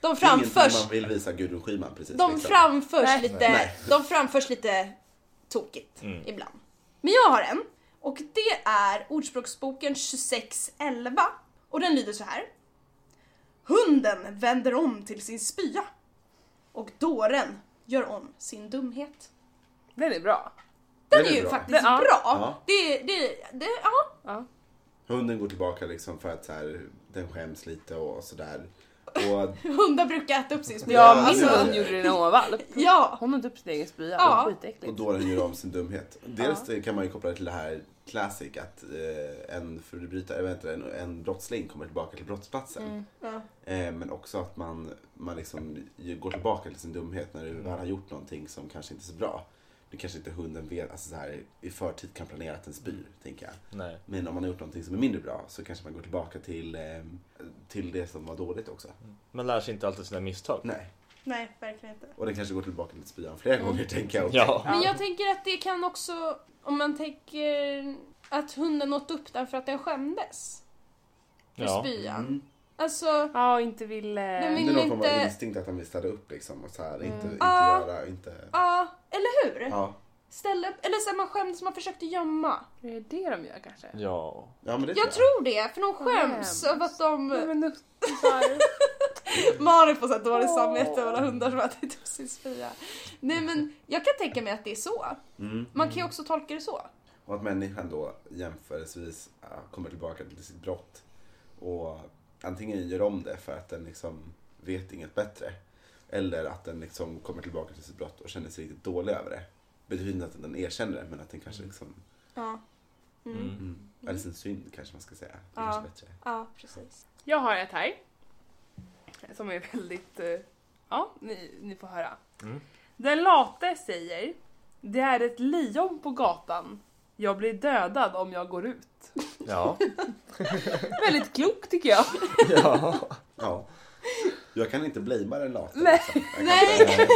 Speaker 4: Det är ingenting
Speaker 2: framförs,
Speaker 4: man vill visa Gudrun Schyman precis.
Speaker 2: de
Speaker 4: liksom.
Speaker 2: framförs
Speaker 1: Nej.
Speaker 2: lite,
Speaker 4: Nej. Mm.
Speaker 2: de framförs lite tokigt ibland. Men jag har en och det är Ordspråksboken 2611 och den lyder så här. Hunden vänder om till sin spya och dåren gör om sin dumhet.
Speaker 1: Den är bra.
Speaker 2: Den
Speaker 4: Den
Speaker 2: är
Speaker 4: är
Speaker 2: ju
Speaker 4: bra.
Speaker 2: faktiskt
Speaker 1: Ja.
Speaker 2: bra.
Speaker 4: Ja.
Speaker 2: Det, det, det, ja.
Speaker 1: Ja.
Speaker 4: Hunden går tillbaka liksom för att så här, den skäms lite och sådär. Och
Speaker 2: Hundar brukar äta upp sin spya.
Speaker 4: Ja,
Speaker 1: Ja, min
Speaker 4: alltså-
Speaker 1: hund gjorde det när hon var valp.
Speaker 2: ja.
Speaker 1: Hon åt upp sin egen spya.
Speaker 2: Ja.
Speaker 1: Ja.
Speaker 4: Och
Speaker 1: Skitäckligt.
Speaker 4: då den gör om sin dumhet. Dels det kan man ju koppla det till det här classic att eh, en förbrytare, eller vänta, en, en brottsling kommer tillbaka till brottsplatsen.
Speaker 2: ja.
Speaker 4: Eh, men också att man, man liksom ju går tillbaka till sin dumhet när du väl har gjort någonting som kanske inte är så bra. Du kanske inte hunden vet, alltså så här, i förtid kan planera att den spyr, tänker jag.
Speaker 3: Nej.
Speaker 4: Men om man har gjort någonting som är mindre bra så kanske man går tillbaka till, eh, till det som var dåligt också.
Speaker 3: Man lär sig inte alltid sina misstag.
Speaker 4: Nej.
Speaker 2: Nej, verkligen inte. Mm.
Speaker 4: Och den kanske går tillbaka till spyan flera gånger, tänker jag. också.
Speaker 3: Ja.
Speaker 2: Men jag tänker att det kan också, om man tänker att hunden åt upp den för att den skämdes för
Speaker 3: ja.
Speaker 2: spyan.
Speaker 4: Mm.
Speaker 2: Alltså,
Speaker 1: Ja, och inte ville...
Speaker 2: Nej, men-
Speaker 4: Det är någon form av
Speaker 2: inte-
Speaker 4: instinkt att han vill städa upp liksom och så här, inte, inte
Speaker 2: Ah.
Speaker 4: göra, inte...
Speaker 2: ja, eller hur?
Speaker 4: Ja.
Speaker 2: Ställe, eller så här, man skämdes, man försökte gömma.
Speaker 1: Det är det de gör kanske.
Speaker 3: ja.
Speaker 4: ja, men det
Speaker 2: Jag tror det, för de skäms
Speaker 1: Skäms.
Speaker 2: över att
Speaker 1: Nej,
Speaker 2: de...
Speaker 1: men nuttisar.
Speaker 2: Malin får så här dåligt
Speaker 1: Åh.
Speaker 2: samvete över alla hundar som har ätit upp sin spya. Nej men, jag kan tänka mig att det är så.
Speaker 4: Mm.
Speaker 2: Man kan ju också tolka det så.
Speaker 4: Och att människan då jämförelsevis äh, kommer tillbaka till sitt brott och antingen gör om det för att den liksom vet inget bättre eller att den liksom kommer tillbaka till sitt brott och känner sig riktigt dålig över det. Betyder inte att den erkänner det men att den kanske liksom,
Speaker 2: Ja,
Speaker 3: Mm.
Speaker 4: mm. eller sin synd kanske man ska säga. Det är
Speaker 2: Ja.
Speaker 4: kanske bättre.
Speaker 2: ja precis.
Speaker 1: Jag har ett här. Som är väldigt... eh, Ja, ni, ni får höra.
Speaker 3: Mm.
Speaker 1: Den late säger Det är ett lejon på gatan. Jag blir dödad om jag går ut.
Speaker 3: Ja.
Speaker 1: Väldigt klokt tycker jag.
Speaker 3: ja.
Speaker 4: Ja. Jag kan inte blamea den late.
Speaker 1: Nej.
Speaker 4: liksom. Jag kan
Speaker 2: Nej.
Speaker 4: inte-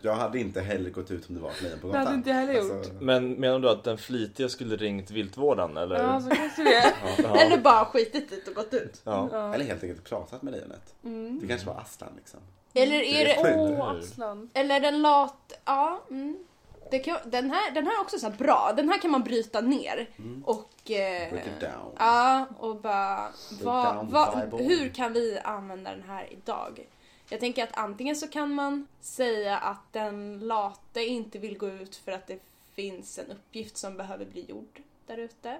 Speaker 4: Jag hade inte heller gått ut om det var ett lejon på
Speaker 1: Det hade
Speaker 4: gatan. Alltså,
Speaker 1: inte jag heller
Speaker 3: Men menar du att den flitiga skulle ringt viltvården eller?
Speaker 1: Ja, så kanske det är.
Speaker 3: ja.
Speaker 2: Eller bara skitit dit och gått ut.
Speaker 3: Ja.
Speaker 4: Eller helt enkelt pratat med lejonet. Det kanske var Aslan liksom.
Speaker 2: Eller
Speaker 1: Mm,
Speaker 2: är det...
Speaker 1: Åh,
Speaker 4: Eller
Speaker 3: hur?
Speaker 1: Aslan.
Speaker 2: Eller den lat... Ja, mm. det kan, den, här, den här är också så här bra. Den här kan man bryta ner. Och... eh,
Speaker 4: Break it down.
Speaker 2: Ja, och bara... Vad,
Speaker 4: down
Speaker 2: vad,
Speaker 4: Bible.
Speaker 2: hur kan vi använda den här idag? Jag tänker att antingen så kan man säga att den late inte vill gå ut för att det finns en uppgift som behöver bli gjord där ute.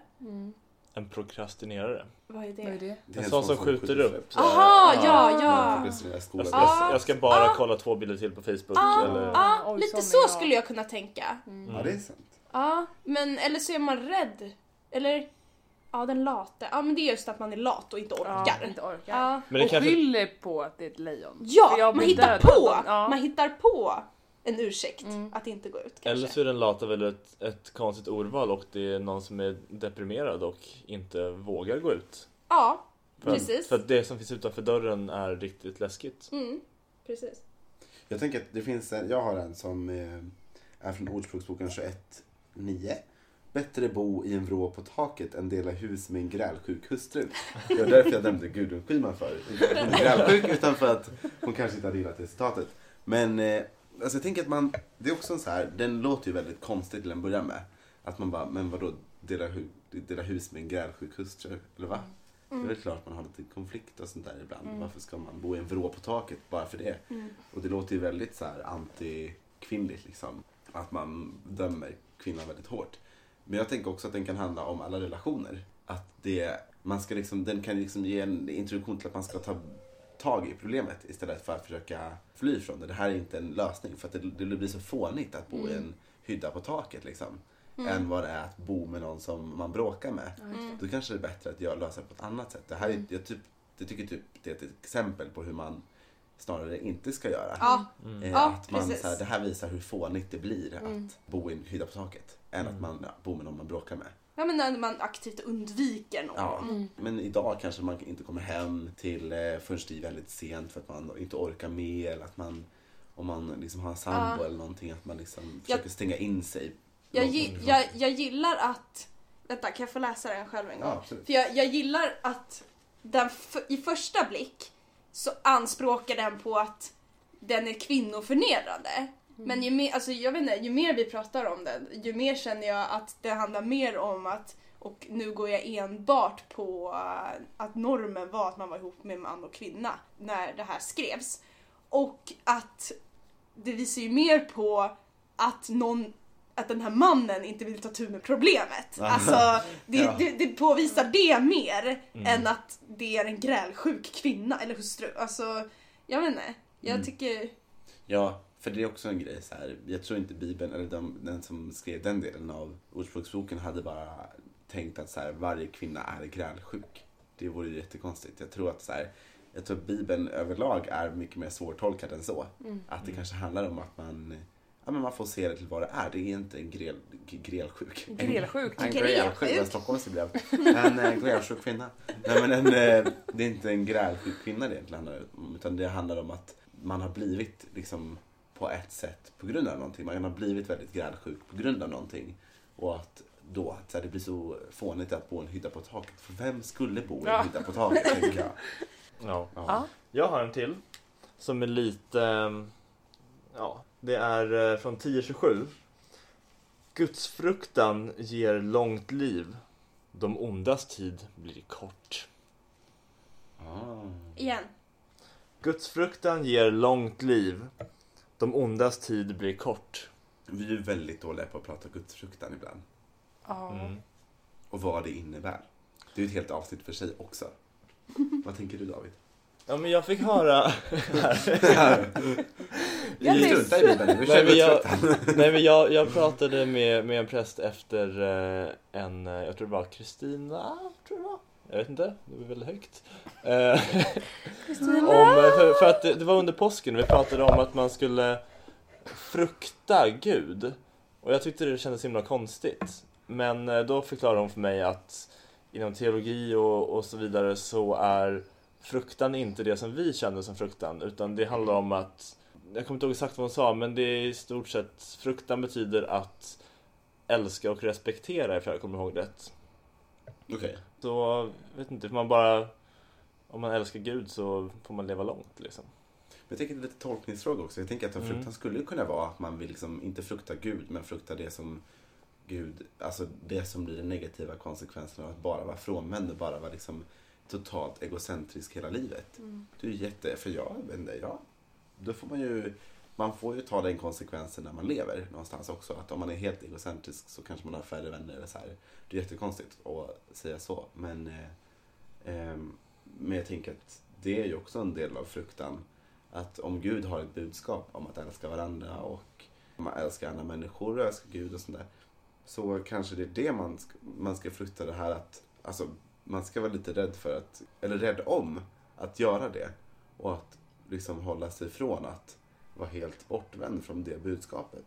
Speaker 3: En prokrastinerare.
Speaker 2: Vad är det?
Speaker 1: Vad är det?
Speaker 4: Det är
Speaker 3: En sån som skjuter upp. Så-
Speaker 2: Aha, ja,
Speaker 4: Ja.
Speaker 2: ja!
Speaker 3: Jag,
Speaker 4: skolan.
Speaker 3: jag, jag ska bara kolla två bilder till på Facebook.
Speaker 2: Ah,
Speaker 3: eller...
Speaker 2: ah,
Speaker 1: Oj, sån
Speaker 2: lite så
Speaker 1: är jag. Mm.
Speaker 2: skulle jag kunna tänka.
Speaker 4: Ja, det är sant.
Speaker 2: Ja, men eller så är man rädd. Eller, ja den late. Ja men det är just att man är lat och inte
Speaker 1: Ja,
Speaker 2: orkar.
Speaker 1: inte orkar.
Speaker 2: Ja,
Speaker 3: Men det
Speaker 1: och
Speaker 3: kanske...
Speaker 1: skyller på att det är ett lejon.
Speaker 2: ja,
Speaker 1: För jag
Speaker 2: man
Speaker 1: blir
Speaker 2: hittar
Speaker 1: dödad
Speaker 2: på!
Speaker 1: om- ja. Mm.
Speaker 2: Man hittar på en ursäkt att inte gå ut kanske.
Speaker 3: Eller så är den lata väl ett, ett konstigt ordval och det är någon som är deprimerad och inte vågar gå ut.
Speaker 2: Ja,
Speaker 3: För, att-
Speaker 2: Precis.
Speaker 3: För att det som finns utanför dörren är riktigt läskigt.
Speaker 2: mm, precis.
Speaker 4: Jag tänker att det finns en, jag har en som eh, är från Ordspråksboken 21.9. Bättre bo i en vrå på taket än dela hus med en grälsjuk hustru. Det var därför jag nämnde Gudrun Schyman förut. Inte för att hon är grälsjuk utan för att hon kanske inte hade gillat det citatet. Men eh, alltså jag tänker att man, det är också en så här, den låter ju väldigt konstigt till en början med. Att man bara, men vadå dela, hu, dela hus med en grälsjuk hustru? Eller va? Det är väl klart man har lite konflikt och sånt där ibland. Varför ska man bo i en vrå på taket bara för det? Och det låter ju väldigt så här antikvinnligt liksom. Att man dömer kvinnan väldigt hårt. Men jag tänker också att den kan handla om alla relationer. Att det, man ska liksom, den kan liksom ge en introduktion till att man ska ta tag i problemet istället för att försöka fly från det. Det här är inte en lösning för att det, det blir så fånigt att bo i en hydda på taket liksom. Än vad det är att bo med någon som man bråkar med. Då kanske det är bättre att jag löser det på ett annat sätt. Det här är, jag typ, jag tycker typ det är ett exempel på hur man snarare inte ska göra.
Speaker 2: Ja,
Speaker 4: Eh,
Speaker 2: Ja,
Speaker 4: att man,
Speaker 2: precis. Mm.
Speaker 4: så här, det här visar hur fånigt det blir att bo i en hydda på taket. Än att man ja, bor med någon man bråkar med.
Speaker 2: ja men när man aktivt undviker någon.
Speaker 4: Ja. Men idag kanske man inte kommer hem till eh, förrän det är väldigt sent för att man inte orkar med eller att man om man liksom har en sambo eller någonting att man liksom försöker stänga in sig.
Speaker 2: Jag,
Speaker 4: Någon-
Speaker 2: gi- jag, jag gillar att... Vänta, kan jag få läsa den själv en gång?
Speaker 4: Ja, absolut.
Speaker 2: För jag, jag gillar att den f- i första blick så anspråkar den på att den är kvinnoförnedrande. Men ju mer, alltså jag vet inte, ju mer vi pratar om den, ju mer känner jag att det handlar mer om att och nu går jag enbart på eh, att normen var att man var ihop med man och kvinna när det här skrevs. Och att det visar ju mer på att någon att den här mannen inte vill ta tur med problemet.
Speaker 4: Ah.
Speaker 2: Alltså, det,
Speaker 4: Ja. Mm.
Speaker 2: det, det påvisar det mer än att det är en grälsjuk kvinna eller hustru. Alltså, jag vet inte. Jag
Speaker 4: Mm.
Speaker 2: tycker...
Speaker 4: Ja, för det är också en grej så här. Jag tror inte Bibeln, eller de, den som skrev den delen av Ordspråksboken hade bara tänkt att så här, varje kvinna är grälsjuk. Det vore ju jättekonstigt. Jag tror att så här, jag tror att Bibeln överlag är mycket mer svårtolkad än så. Att det kanske handlar om att man, ja, men man får se det till vad det är. Det är inte en grel, g- grälsjuk.
Speaker 1: Grälsjuk.
Speaker 4: En, en
Speaker 2: Grälsjuk.
Speaker 4: grälsjuk, vad Stockholm det blev. En eh, grälsjuk kvinna. Nej men en, eh, det är inte en grälsjuk kvinna det egentligen handlar om. Utan det handlar om att man har blivit liksom på ett sätt på grund av någonting. Man har blivit väldigt grälsjuk på grund av någonting. Och att då, att så här, det blir så fånigt att bo i en hydda på taket. För vem skulle bo i
Speaker 1: Ja.
Speaker 4: en hydda på taket? tänker jag.
Speaker 3: Ja.
Speaker 1: Ja.
Speaker 3: Jag har en till som är lite... ehm, Ja, det är eh, från 1027. Gudsfruktan ger långt liv. De ondas tid blir kort.
Speaker 4: Ah.
Speaker 2: Igen.
Speaker 3: Gudsfruktan ger långt liv. De ondas tid blir kort.
Speaker 4: Vi är ju väldigt dåliga på att prata gudsfruktan ibland.
Speaker 1: Ja.
Speaker 3: Mm.
Speaker 4: Och vad det innebär. Det är ju ett helt avsnitt för sig också. Vad tänker du David?
Speaker 3: Ja, men jag fick höra...
Speaker 1: Jag
Speaker 4: Vi
Speaker 1: tänkte-
Speaker 4: struntar i Bibeln nu. Vi
Speaker 3: Nej
Speaker 4: kör
Speaker 3: men, jag,
Speaker 4: gudsfruktan.
Speaker 3: nej men jag, jag pratade med, med en präst efter eh, en, eh, jag tror det var Kristina, tror jag det var. Jag vet inte, det var väldigt högt. Eh, om, eh, för, för att det, det var under påsken vi pratade om att man skulle frukta Gud. Och jag tyckte det kändes himla konstigt. Men eh, då förklarade hon för mig att inom teologi och, och så vidare så är fruktan inte det som vi känner som fruktan utan det handlar om att jag kommer inte ihåg exakt vad hon sa men det är i stort sett fruktan betyder att älska och respektera ifall jag kommer ihåg rätt.
Speaker 4: Okej.
Speaker 3: Så vet inte, får man bara om man älskar Gud så får man leva långt liksom.
Speaker 4: Men jag tänker det är lite tolkningsfråga också. Jag tänker att en
Speaker 3: Mm.
Speaker 4: fruktan skulle ju kunna vara att man vill liksom inte frukta Gud, men frukta det som Gud, alltså det som blir den negativa konsekvensen av att bara vara frånvänd och bara vara liksom totalt egocentrisk hela livet. Det är ju jätte, för jag vänder, ja. Då får man ju, man får ju ta den konsekvensen när man lever någonstans också. Att om man är helt egocentrisk så kanske man har färre vänner eller så här. Det är jättekonstigt att säga så, men eh, ehm, men jag tänker att det är ju också en del av fruktan. Att om Gud har ett budskap om att älska varandra och om man älskar andra människor och älskar Gud och sånt där. Så kanske det är det man ska, man ska frukta det här att, alltså man ska vara lite rädd för att, eller rädd om att göra det. Och att liksom hålla sig från att vara helt bortvänd från det budskapet.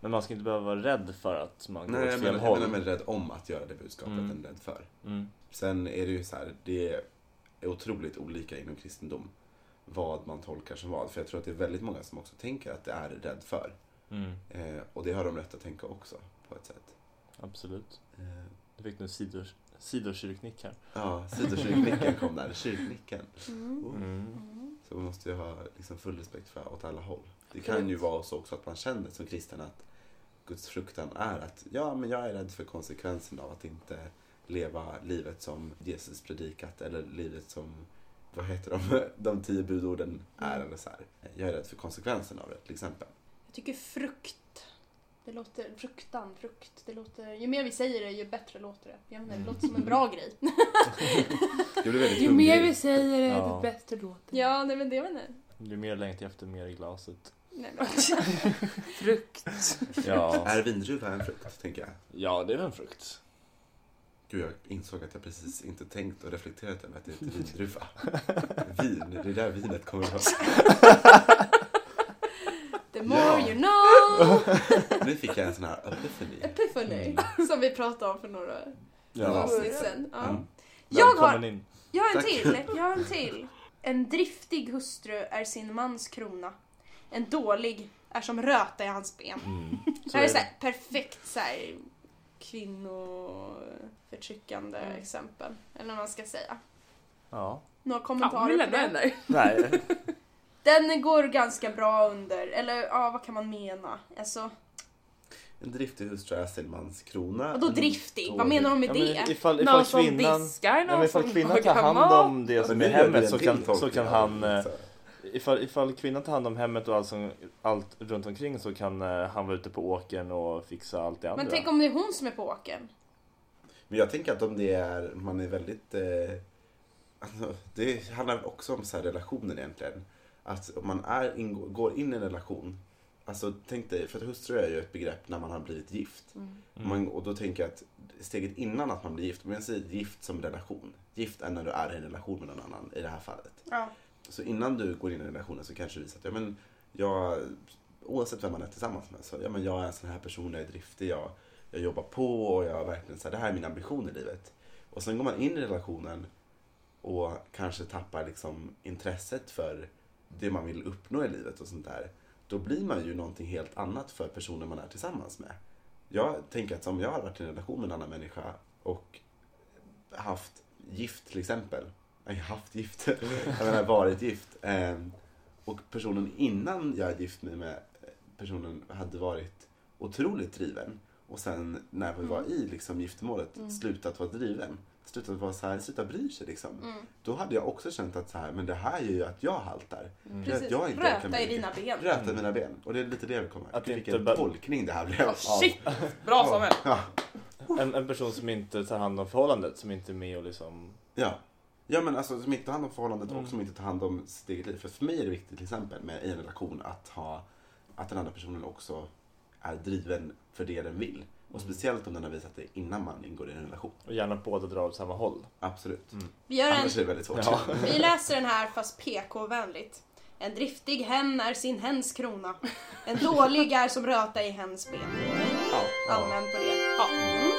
Speaker 3: Men man ska inte behöva vara rädd för att man går
Speaker 4: Nej,
Speaker 3: åt
Speaker 4: jag
Speaker 3: fel
Speaker 4: menar, jag
Speaker 3: håll.
Speaker 4: menar med rädd om att göra det budskapet
Speaker 3: Mm.
Speaker 4: än rädd för.
Speaker 3: Mm.
Speaker 4: Sen är det ju så här, det är otroligt olika inom kristendom vad man tolkar som vad. För jag tror att det är väldigt många som också tänker att det är rädd för.
Speaker 3: Mm.
Speaker 4: Eh, och det har de rätt att tänka också på ett sätt.
Speaker 3: Absolut.
Speaker 4: Eh,
Speaker 3: Du fick nu sidor, sidokyrknick här.
Speaker 4: ja, sidokyrknicken kom där. Kyrknicken.
Speaker 3: Mm.
Speaker 4: Så man måste ju ha liksom full respekt för åt alla håll. Det kan ju vara så också att man känner som kristen att Guds fruktan är att ja, men jag är rädd för konsekvensen av att inte leva livet som Jesus predikat eller livet som, vad heter de, de tio budorden är eller så här. Jag är rädd för konsekvensen av det till exempel.
Speaker 2: Jag tycker frukt. Det låter, fruktan, frukt. Det låter, ju mer vi säger det, ju bättre låter det. Jag menar, det låter som en bra grej.
Speaker 4: Jag blir väldigt
Speaker 1: Ju mer vi
Speaker 4: hungrig.
Speaker 1: säger det,
Speaker 3: Ja.
Speaker 1: desto bättre låter det.
Speaker 2: Ja, nej men det menar jag.
Speaker 3: Ju mer längtar jag efter mer i glaset.
Speaker 2: Nej, men.
Speaker 1: Frukt.
Speaker 3: Ja.
Speaker 4: Är vindruva en frukt, tänker jag.
Speaker 3: ja, det är väl en frukt.
Speaker 4: Gud, jag insåg att jag precis inte tänkt och reflekterat över att det heter vindruva. Vin, det är där vinet kommer ifrån.
Speaker 2: The more
Speaker 4: Ja.
Speaker 2: you know!
Speaker 4: Nu fick jag en sån här epiphany.
Speaker 2: Epiphany, som vi pratade om för några
Speaker 4: Ja.
Speaker 2: avsnitt sedan. Ja.
Speaker 4: Mm.
Speaker 2: Jag
Speaker 3: Välkommen
Speaker 2: har,
Speaker 3: in.
Speaker 2: jag har en
Speaker 4: Tack.
Speaker 2: till, jag har en till. En driftig hustru är sin mans krona. En dålig är som röta i hans ben.
Speaker 3: Mm.
Speaker 2: det här är så här, perfekt så här, kvinnoförtryckande
Speaker 1: Mm.
Speaker 2: exempel. Eller vad man ska säga.
Speaker 3: Ja.
Speaker 2: Några
Speaker 1: Fan,
Speaker 2: kommentarer
Speaker 1: vi
Speaker 2: på
Speaker 1: lämnar den
Speaker 2: den?
Speaker 1: där.
Speaker 3: Nej.
Speaker 2: Den går ganska bra under, eller ja, vad kan man mena? Alltså,
Speaker 4: En driftig hustru är sin mans krona.
Speaker 2: vadå driftig? Vad menar de med
Speaker 3: Ja,
Speaker 2: det?
Speaker 3: men ifall,
Speaker 1: Någon
Speaker 3: ifall
Speaker 1: som
Speaker 3: kvinnan...
Speaker 1: diskar,
Speaker 3: Ja, men
Speaker 1: någon
Speaker 3: ifall
Speaker 1: som
Speaker 3: kvinnan tar
Speaker 1: lagar
Speaker 3: hand
Speaker 1: mat.
Speaker 3: om det
Speaker 4: Men
Speaker 3: som
Speaker 4: nu
Speaker 3: är
Speaker 4: gör du
Speaker 3: hemmet
Speaker 4: Alltså, en
Speaker 3: så
Speaker 4: till
Speaker 3: kan, så
Speaker 4: tolkning
Speaker 3: kan
Speaker 4: av
Speaker 3: han
Speaker 4: det,
Speaker 3: eh,
Speaker 4: så.
Speaker 3: ifall, ifall kvinnan tar hand om hemmet och allt, som, allt runt omkring så kan eh, han vara ute på åkern och fixa allt det andra.
Speaker 2: Men tänk om det är hon som är på åkern?
Speaker 4: Men jag tänker att om det är, man är väldigt... Eh, alltså, det handlar också om så här relationer egentligen. Att om man är, ingår, går in i en relation. Alltså tänk dig, för att hustru är ju ett begrepp när man har blivit gift.
Speaker 2: Mm.
Speaker 4: Man, och då tänker jag att steget innan att man blir gift, men jag säger gift som relation. Gift är när du är i en relation med någon annan i det här fallet.
Speaker 2: Ja.
Speaker 4: Så innan du går in i relationen så kanske du visar att ja, men jag, oavsett vem man är tillsammans med, så ja, men jag är en sån här person, jag är driftig, jag, jag jobbar på och jag är verkligen så här, det här är min ambition i livet. Och sen går man in i relationen och kanske tappar liksom intresset för det man vill uppnå i livet och sånt där. Då blir man ju någonting helt annat för personen man är tillsammans med. Jag tänker att om jag hade varit i en relation med en annan människa och haft gift till exempel. Nej, haft gift. Jag menar varit gift. Eh, Och personen innan jag gifte mig med personen hade varit otroligt driven. Och sen när vi var
Speaker 2: Mm.
Speaker 4: i liksom, giftermålet slutat vara driven. Slutat vara så här, sluta bry sig liksom.
Speaker 2: Mm.
Speaker 4: Då hade jag också känt att så här, men det här gör ju att jag haltar. Det är att
Speaker 2: Mm. Precis.
Speaker 4: jag inte orkar
Speaker 2: Röta
Speaker 4: med
Speaker 2: i
Speaker 4: det.
Speaker 2: dina ben.
Speaker 4: Röta i mina ben. Och det är lite det vi kommer.
Speaker 3: Att
Speaker 4: Att
Speaker 3: inte
Speaker 4: Vilken
Speaker 3: bara-
Speaker 4: tolkning det här blev. av-
Speaker 1: Shit! Bra Samuel!
Speaker 3: En, en person som inte tar hand om förhållandet, som inte är med och liksom...
Speaker 4: Ja. Ja men alltså som inte tar hand om förhållandet
Speaker 3: Mm.
Speaker 4: och som inte tar hand om sitt eget liv. För, för mig är det viktigt till exempel med i en relation att ha att den andra personen också är driven för det den vill. Och
Speaker 3: Mm.
Speaker 4: speciellt om den har visat det innan man ingår i en relation.
Speaker 3: Och gärna båda drar åt samma håll.
Speaker 4: Absolut.
Speaker 3: Mm.
Speaker 2: Vi, gör en,
Speaker 4: Annars är det väldigt svårt.
Speaker 2: vi läser den här fast PK-vänligt. En driftig hen är sin hens krona. En dålig är som röta i hens ben.
Speaker 4: Ja.
Speaker 2: Allmän på det. Ja. Mm.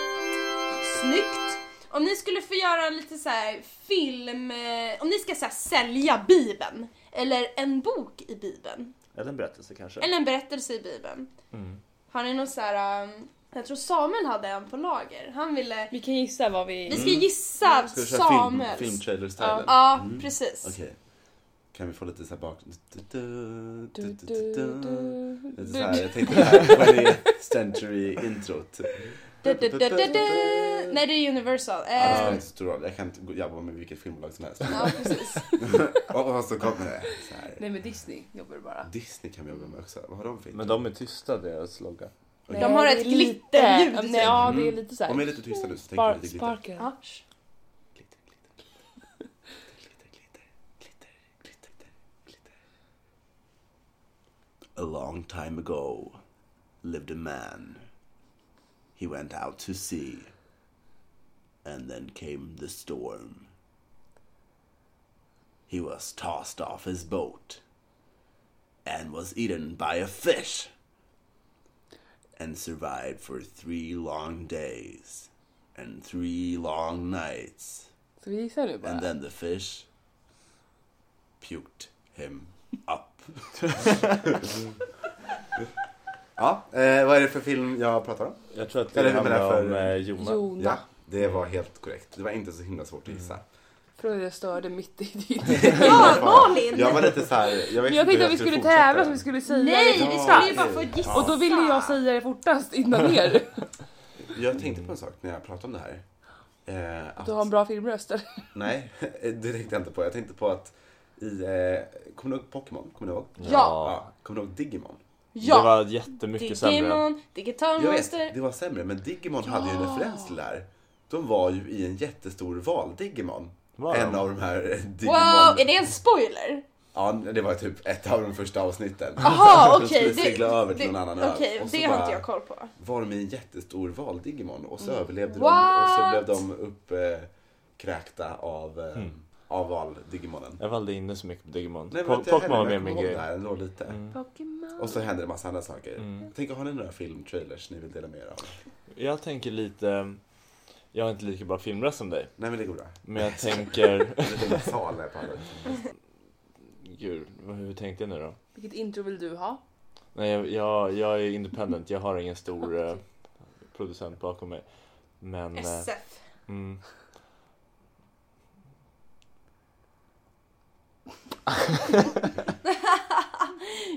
Speaker 2: Snyggt! Om ni skulle få göra lite så här film... eh, Om ni ska så här sälja Bibeln. Eller en bok i Bibeln.
Speaker 3: Eller en berättelse kanske.
Speaker 2: Eller en berättelse i Bibeln.
Speaker 3: Mm.
Speaker 2: Har ni någon så här... um, Jag tror Samuel hade en på lager. Han ville...
Speaker 1: Vi kan gissa vad
Speaker 2: Vi
Speaker 1: vi...
Speaker 4: Mm.
Speaker 2: ska gissa
Speaker 4: Ska vi köra film,
Speaker 2: Samuels.
Speaker 4: filmtrailers-stylen?
Speaker 2: Ja, precis.
Speaker 4: Mm. Okej. Kan vi få lite så här bak... Du, du,
Speaker 1: Du,
Speaker 4: du,
Speaker 1: du,
Speaker 4: du, du.
Speaker 1: du,
Speaker 4: Lite
Speaker 1: du.
Speaker 4: så här, jag tänkte det här, typ. vad är century-introt?
Speaker 2: Du, du, du, du, du. Nej, det är Universal.
Speaker 4: Ah, Ja, det spelar
Speaker 2: Eh,
Speaker 4: inte så stor roll. Jag kan inte gå- jobba med vilket filmbolag som helst.
Speaker 2: ja, precis.
Speaker 4: Och, och så kommer det. Så här.
Speaker 1: Nej men Disney jobbar du bara.
Speaker 4: Disney kan vi jobba med också. Vad har de för
Speaker 3: Men
Speaker 4: intro?
Speaker 3: de är tysta, deras logga.
Speaker 2: De har ett glitterljud.
Speaker 1: Nej, ja, det är lite såhär...
Speaker 4: Mm. Om vi är lite tysta nu så tänker vi
Speaker 1: Spar-
Speaker 4: lite glitter.
Speaker 1: sparken.
Speaker 2: Ja.
Speaker 4: Glitter, glitter. Glitter, glitter, glitter, glitter, glitter. A long time ago lived a man. He went out to sea. And then came the storm. He was tossed off his boat and was eaten by a fish and survived for three long days and three long nights.
Speaker 1: Ska vi gissa nu bara?
Speaker 4: And then the fish puked him up. ja, eh, vad är det för film jag pratar om?
Speaker 3: Jag tror att
Speaker 4: Eller
Speaker 3: det
Speaker 4: hur menar jag
Speaker 3: handlar om
Speaker 4: för-
Speaker 3: eh, Jona.
Speaker 1: Jona.
Speaker 4: Ja, det var helt korrekt. Det var inte så himla svårt att gissa.
Speaker 1: Från det jag störde mitt i ditt.
Speaker 2: Ja, Malin!
Speaker 4: Jag var lite såhär, jag
Speaker 1: Jag
Speaker 4: visste inte hur
Speaker 1: tänkte att vi skulle tävla så vi skulle säga
Speaker 2: Nej,
Speaker 1: det
Speaker 2: vi
Speaker 1: fortast.
Speaker 2: skulle ju bara få gissa.
Speaker 1: Och då ville jag säga det fortast innan er.
Speaker 4: Jag tänkte på en sak när jag pratade om det här. Eh, att,
Speaker 1: Du har en bra filmröst eller?
Speaker 4: Nej, det tänkte jag inte på. Jag tänkte på att i, eh, kommer ni ihåg Pokémon? Kommer ni ihåg?
Speaker 2: Ja.
Speaker 4: Ja, kommer ni ihåg Digimon?
Speaker 3: Det
Speaker 2: Ja!
Speaker 3: var jättemycket sämre.
Speaker 2: Digimon, Digital
Speaker 4: Jag vet,
Speaker 2: Monster.
Speaker 4: det var sämre. Men Digimon hade ju en referens till det här. De var ju i en jättestor val-Digimon.
Speaker 3: Var de?
Speaker 4: En av de här eh, Digimon...
Speaker 2: Wow, är det en spoiler?
Speaker 4: Ja, det var typ ett av de första avsnitten.
Speaker 2: Jaha,
Speaker 4: De
Speaker 2: okej.
Speaker 4: skulle segla över till någon annan ö.
Speaker 2: Okej,
Speaker 4: Och så
Speaker 2: det har inte
Speaker 4: bara-
Speaker 2: jag koll på.
Speaker 4: Var de i en jättestor val-Digimon och så överlevde de och så
Speaker 2: What?
Speaker 4: blev de uppkräkta av, eh,
Speaker 3: Mm.
Speaker 4: av val-Digimonen.
Speaker 3: Jag var aldrig inne så mycket på Digimon.
Speaker 4: Nej,
Speaker 3: Po-
Speaker 4: men jag
Speaker 3: Pokémon var
Speaker 4: heller,
Speaker 3: mer
Speaker 4: jag
Speaker 3: min
Speaker 4: kommer ihåg
Speaker 3: grej. Mm.
Speaker 4: det här ändå lite.
Speaker 1: Pokémon.
Speaker 4: Och så händer det massa andra saker. Tänk, har ni några filmtrailers ni vill dela med er av?
Speaker 3: Jag tänker lite... Jag har inte lika bra filmröst som dig.
Speaker 4: Nej men det går bra.
Speaker 3: Men jag tänker...
Speaker 4: Lite sal här på alla.
Speaker 3: Gud, vad- hur tänkte jag nu då?
Speaker 1: Vilket intro vill du ha?
Speaker 3: Nej, jag, jag, jag är independent. Jag har ingen stor eh, producent bakom mig. Men... eh,
Speaker 2: SF.
Speaker 3: mm.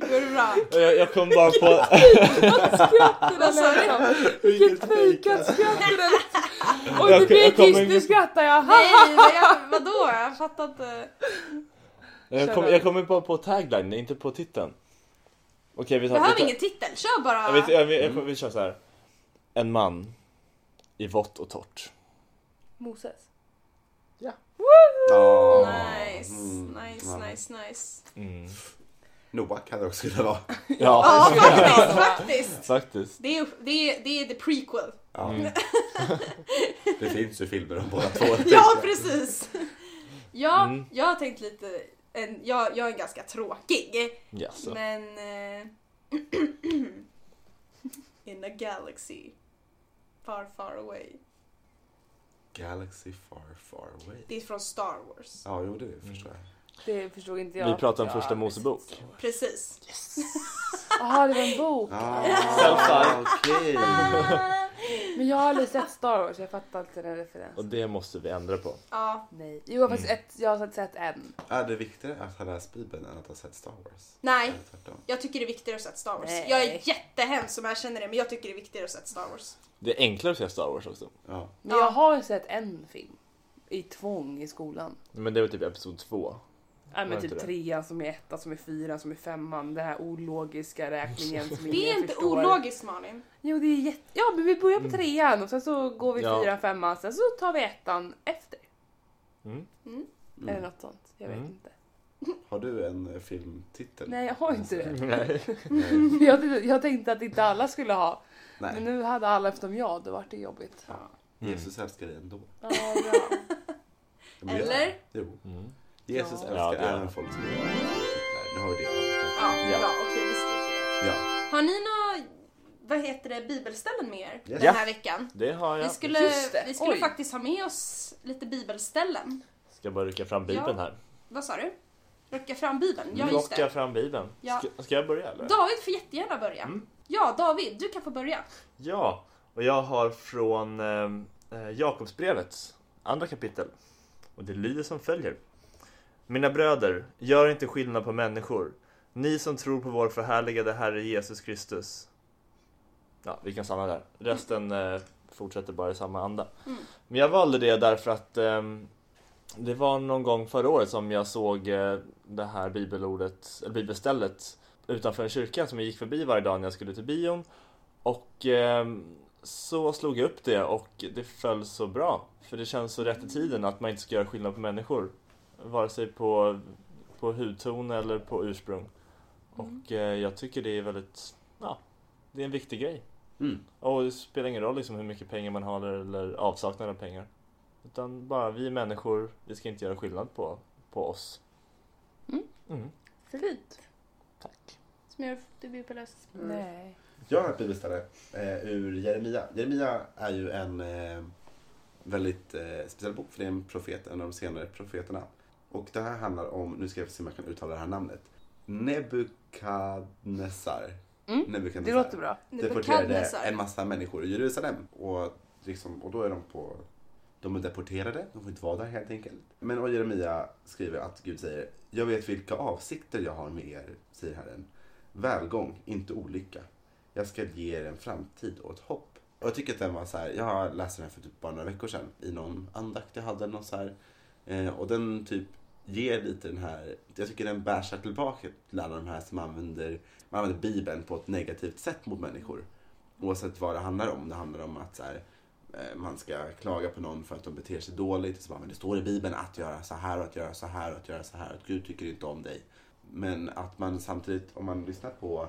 Speaker 2: Går det bra?
Speaker 3: jag, jag kom bara på...
Speaker 1: Vad
Speaker 4: Alltså,
Speaker 1: sa du? Vilket fejkat skratt det där Om
Speaker 3: Jag-
Speaker 1: det blir
Speaker 3: jag kommer-
Speaker 1: tyst nu skrattar jag.
Speaker 2: Nej, men jag, vadå? Jag fattar inte.
Speaker 3: Jag kommer jag kom bara på tagline, inte på titeln. Okej, vi tar... vi
Speaker 2: Behöver
Speaker 3: tar-
Speaker 2: ingen titel, kör bara!
Speaker 3: Jag vet, jag, vet-
Speaker 4: Mm.
Speaker 3: jag, vi kör så här. En man i vått och torrt.
Speaker 1: Moses.
Speaker 4: Ja.
Speaker 2: Nice,
Speaker 4: Mm.
Speaker 2: nice,
Speaker 4: Ja.
Speaker 2: nice, nice.
Speaker 4: Mm. Noah kan det också kunna vara.
Speaker 3: Ja,
Speaker 2: Ja, faktiskt, faktiskt!
Speaker 3: faktiskt.
Speaker 2: Det är, det, är, det är the prequel.
Speaker 4: Ja.
Speaker 3: Mm.
Speaker 4: Mm. Det finns ju filmer om båda två.
Speaker 2: Ja, precis! Ja,
Speaker 3: Mm.
Speaker 2: jag har tänkt lite... En, jag, jag är ganska tråkig,
Speaker 3: Jaså.
Speaker 2: men... eh, in a galaxy. Far, far away.
Speaker 4: Galaxy far far away.
Speaker 2: Det är från Star Wars.
Speaker 4: Ja, jo det förstår jag.
Speaker 1: Det förstod inte jag.
Speaker 3: Vi pratar om
Speaker 1: Ja.
Speaker 3: första Mosebok.
Speaker 2: Precis.
Speaker 1: Jaha, det var en bok.
Speaker 4: Ah, okej.
Speaker 1: Men jag har aldrig sett Star Wars, jag fattar inte den referensen.
Speaker 3: Och det måste vi ändra på.
Speaker 2: Ja.
Speaker 1: Nej. Jo, jag har faktiskt ett, jag har sett en.
Speaker 4: Är det viktigare att ha läst Bibeln än att ha sett Star Wars?
Speaker 2: Nej,
Speaker 4: Eller tvärtom?
Speaker 2: jag tycker det är viktigare att se ett Star Wars.
Speaker 1: Nej.
Speaker 2: Jag är jättehemsk som jag känner det, men jag tycker det är viktigare att se ett Star Wars.
Speaker 3: Det är enklare att säga Star Wars också.
Speaker 4: Ja.
Speaker 1: Men
Speaker 2: Ja.
Speaker 1: jag har sett en film. I tvång i skolan.
Speaker 3: Men det var typ episod två.
Speaker 1: Nej men
Speaker 3: Var inte
Speaker 1: typ
Speaker 3: det?
Speaker 1: trean som är ettan som är fyran som är femman. Den här ologiska räkningen som
Speaker 2: Det är
Speaker 1: ingen
Speaker 2: inte
Speaker 1: förstår.
Speaker 2: ologiskt Malin.
Speaker 1: Jo det är jätte... Ja men vi börjar på trean och sen så går vi
Speaker 3: Mm. Ja.
Speaker 1: fyran, femman. Sen så tar vi ettan efter.
Speaker 3: Mm.
Speaker 2: Mm.
Speaker 1: Eller något sånt. Jag vet
Speaker 3: Mm.
Speaker 1: inte.
Speaker 4: Har du en eh, filmtitel?
Speaker 1: Nej jag har inte det.
Speaker 3: Nej.
Speaker 4: Nej.
Speaker 1: Jag, tyckte- jag tänkte att inte alla skulle ha. Men
Speaker 4: Nej.
Speaker 1: nu hade alla utom jag. Då vart det jobbigt.
Speaker 4: Jesus älskar dig ändå.
Speaker 1: Ja, bra.
Speaker 4: Men jag-
Speaker 2: Eller?
Speaker 4: Jo.
Speaker 3: Mm.
Speaker 4: Jesus
Speaker 1: Ja.
Speaker 4: älskar
Speaker 3: Ja, det är
Speaker 4: även
Speaker 3: det.
Speaker 4: folk som gör titlar. Nu har vi det.
Speaker 2: Ja,
Speaker 3: Ja.
Speaker 2: bra. Okej, vi stryker det.
Speaker 4: Ja.
Speaker 2: Har ni några, vad heter det, bibelställen med er
Speaker 4: Yes.
Speaker 2: den
Speaker 3: Ja.
Speaker 2: här veckan?
Speaker 3: Det har
Speaker 2: Vi
Speaker 3: jag.
Speaker 2: skulle,
Speaker 1: just det.
Speaker 2: vi skulle
Speaker 1: Oj.
Speaker 2: faktiskt ha med oss lite bibelställen.
Speaker 3: Ska bara rycka fram
Speaker 2: Ja.
Speaker 3: bibeln här.
Speaker 2: Vad sa du? Rocka fram bibeln? Ja, just
Speaker 3: Plocka
Speaker 2: det.
Speaker 3: fram bibeln.
Speaker 2: Ja.
Speaker 3: Ska, ska jag börja eller?
Speaker 2: David får jättegärna börja. Ja, David, du kan få börja.
Speaker 3: Ja, och jag har från ehm, eh, Jakobsbrevets andra kapitel. Och det lyder som följer. Mina bröder, gör inte skillnad på människor. Ni som tror på vår förhärligade Herre Jesus Kristus. Ja, vi kan stanna där. Resten eh, fortsätter bara i samma anda. Men jag valde det därför att ehm, det var någon gång förra året som jag såg eh, det här bibelordet, eller bibelstället utanför en kyrka som jag gick förbi varje dag när jag skulle till bion. Och ehm, så slog jag upp det och det föll så bra. För det känns så rätt i tiden att man inte ska göra skillnad på människor. Vare sig på, på hudton eller på ursprung. Och eh, jag tycker det är väldigt, ja, det är en viktig grej.
Speaker 4: Mm.
Speaker 3: Och det spelar ingen roll liksom hur mycket pengar man har eller avsaknad av pengar. Utan bara vi är människor, vi ska inte göra skillnad på, på oss. Mm.
Speaker 2: Fint.
Speaker 3: Tack.
Speaker 2: Smurf, du blir upplöst.
Speaker 1: Nej.
Speaker 4: Jag har ett bibelställe eh, ur Jeremia. Jeremia är ju en eh, väldigt eh, speciell bok för det är en profet, en av de senare profeterna. Och det här handlar om, nu ska jag se om jag kan uttala det här namnet, Nebukadnessar.
Speaker 1: Mm,
Speaker 4: Nebukadnessar.
Speaker 1: Det låter bra.
Speaker 4: deporterade
Speaker 2: Nebukadnessar.
Speaker 4: en massa människor i Jerusalem. Och, liksom, och då är de på... De är deporterade, de får inte vara där helt enkelt. Men och Jeremia skriver att Gud säger Jag vet vilka avsikter jag har med er, säger Herren. Välgång, inte olycka. Jag ska ge er en framtid och ett hopp. Och jag tycker att den var så här, jag läste den här för typ bara några veckor sedan i någon andakt jag hade. Någon så här, eh, och den typ ger lite den här, jag tycker den bär sig tillbaka till alla de här som använder, man använder Bibeln på ett negativt sätt mot människor. Oavsett vad det handlar om. Det handlar om att så här, eh, man ska klaga på någon för att de beter sig dåligt. Så bara, men det står i Bibeln att göra så här och att göra så här och att göra så här. Att Gud tycker inte om dig. Men att man samtidigt, om man lyssnar på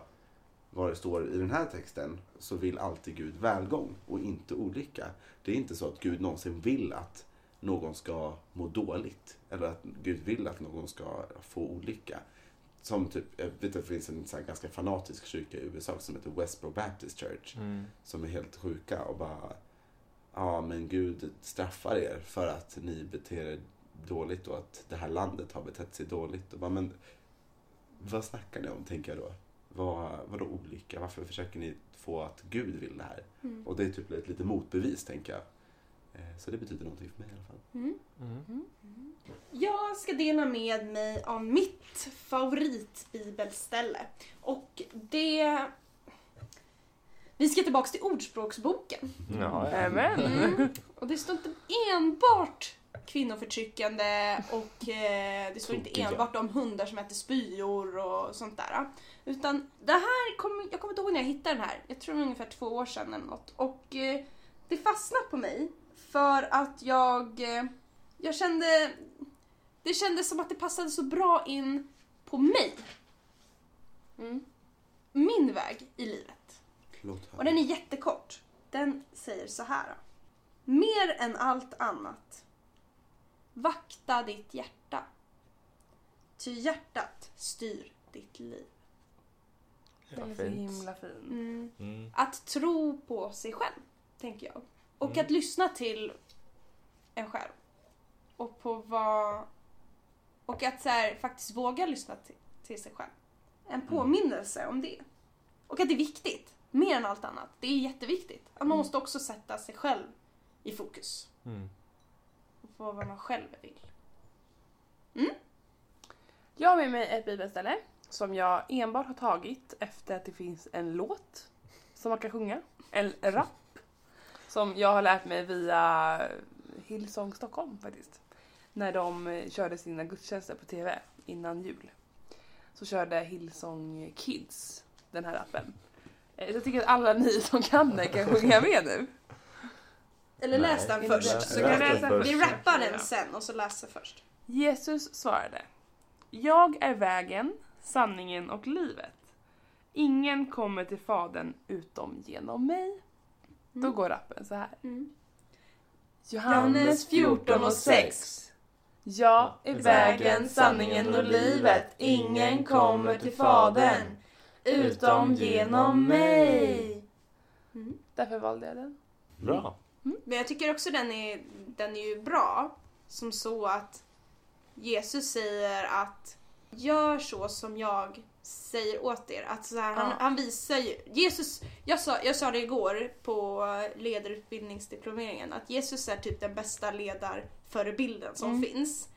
Speaker 4: vad det står i den här texten så vill alltid Gud välgång och inte olycka. Det är inte så att Gud någonsin vill att någon ska må dåligt eller att Gud vill att någon ska få olycka. Som typ, jag vet att det finns en så här ganska fanatisk kyrka i USA som heter Westboro Baptist Church som är helt sjuka och bara ja men Gud straffar er för att ni beter er dåligt och att det här landet har betett sig dåligt. Och bara, men vad snackar ni om tänker jag då? Vad, vadå olycka? Varför försöker ni få att Gud vill det här?
Speaker 2: Mm.
Speaker 4: Och det är typ ett lite motbevis tänker jag. Eh, Så det betyder någonting för mig i alla fall.
Speaker 2: Jag ska dela med mig av mitt favoritbibelställe. Och det... Vi ska
Speaker 1: Mm.
Speaker 2: tillbaka till Ordspråksboken.
Speaker 3: Ja, ja.
Speaker 1: Amen.
Speaker 2: Och det står inte enbart kvinnoförtryckande och eh, det står inte
Speaker 3: Tokiga.
Speaker 2: enbart om hundar som äter spyor och sånt där. Utan det här, kom, jag kommer inte ihåg när jag hittade den här, jag tror det var ungefär två år sedan eller något. Och eh, det fastnade på mig för att jag, eh, jag kände, det kändes som att det passade så bra in på mig.
Speaker 1: Mm.
Speaker 2: Min väg i livet.
Speaker 4: Förlåt.
Speaker 2: Och den är jättekort. Den säger så här. då. Mer än allt annat. Vakta ditt hjärta. Ty hjärtat styr ditt liv.
Speaker 1: Den är så himla fin.
Speaker 3: Mm.
Speaker 2: Att tro på sig själv, tänker jag. Och
Speaker 3: Mm.
Speaker 2: att lyssna till en själv. Och på vad... Och att så här, faktiskt våga lyssna till, till sig själv. En påminnelse om det. Och att det är viktigt, mer än allt annat. Det är jätteviktigt. Att man måste också sätta sig själv i fokus.
Speaker 3: Mm.
Speaker 2: Och på vad man själv vill.
Speaker 1: Jag har med mig ett bibelställe som jag enbart har tagit efter att det finns en låt som man kan sjunga. En rap. Som jag har lärt mig via Hillsong Stockholm faktiskt. När de eh, körde sina gudstjänster på TV innan jul. Så körde Hillsong Kids den här rappen. Eh, Så jag tycker att alla ni som kan den kan sjunga med nu.
Speaker 2: Eller
Speaker 3: Nej.
Speaker 2: läs den
Speaker 1: Eller
Speaker 2: först.
Speaker 1: läs
Speaker 2: Så
Speaker 1: den
Speaker 2: kan
Speaker 1: först.
Speaker 2: vi, vi rappar den
Speaker 1: Ja.
Speaker 2: sen och så läser först.
Speaker 1: Jesus svarade Jag är vägen, sanningen och livet. Ingen kommer till Fadern utom genom mig. Då går rappen så här.
Speaker 2: Mm.
Speaker 1: Johannes 14 och 6. Jag är vägen, sanningen och livet. Ingen kommer till Fadern utom genom mig.
Speaker 2: Mm.
Speaker 1: Därför valde jag den.
Speaker 3: Bra.
Speaker 2: Men jag tycker också den är, den är ju bra. Som så att Jesus säger att gör så som jag säger åt er. Att så här, han,
Speaker 1: Ja.
Speaker 2: han visar ju. Jesus, jag sa, jag sa det igår på ledarutbildningsdiplomeringen att Jesus är typ den bästa ledarförebilden som
Speaker 1: Mm.
Speaker 2: finns.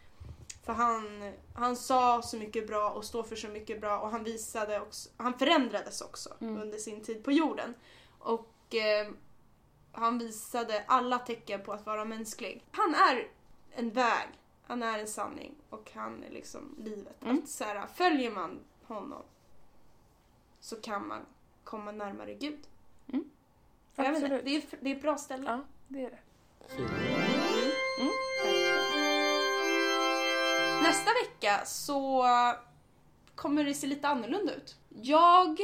Speaker 2: För han, han sa så mycket bra och står för så mycket bra och han visade också, han förändrades också
Speaker 1: Mm.
Speaker 2: under sin tid på jorden. Och eh, han visade alla tecken på att vara mänsklig. Han är en väg, han är en sanning och han är liksom livet.
Speaker 1: Mm.
Speaker 2: Att så här, följer man honom så kan man komma närmare Gud.
Speaker 1: Mm.
Speaker 2: Jag vet inte,
Speaker 1: Absolut.
Speaker 2: det, är, det är ett bra ställe.
Speaker 1: Ja, det är det.
Speaker 2: Mm. Nästa vecka så kommer det se lite annorlunda ut. Jag,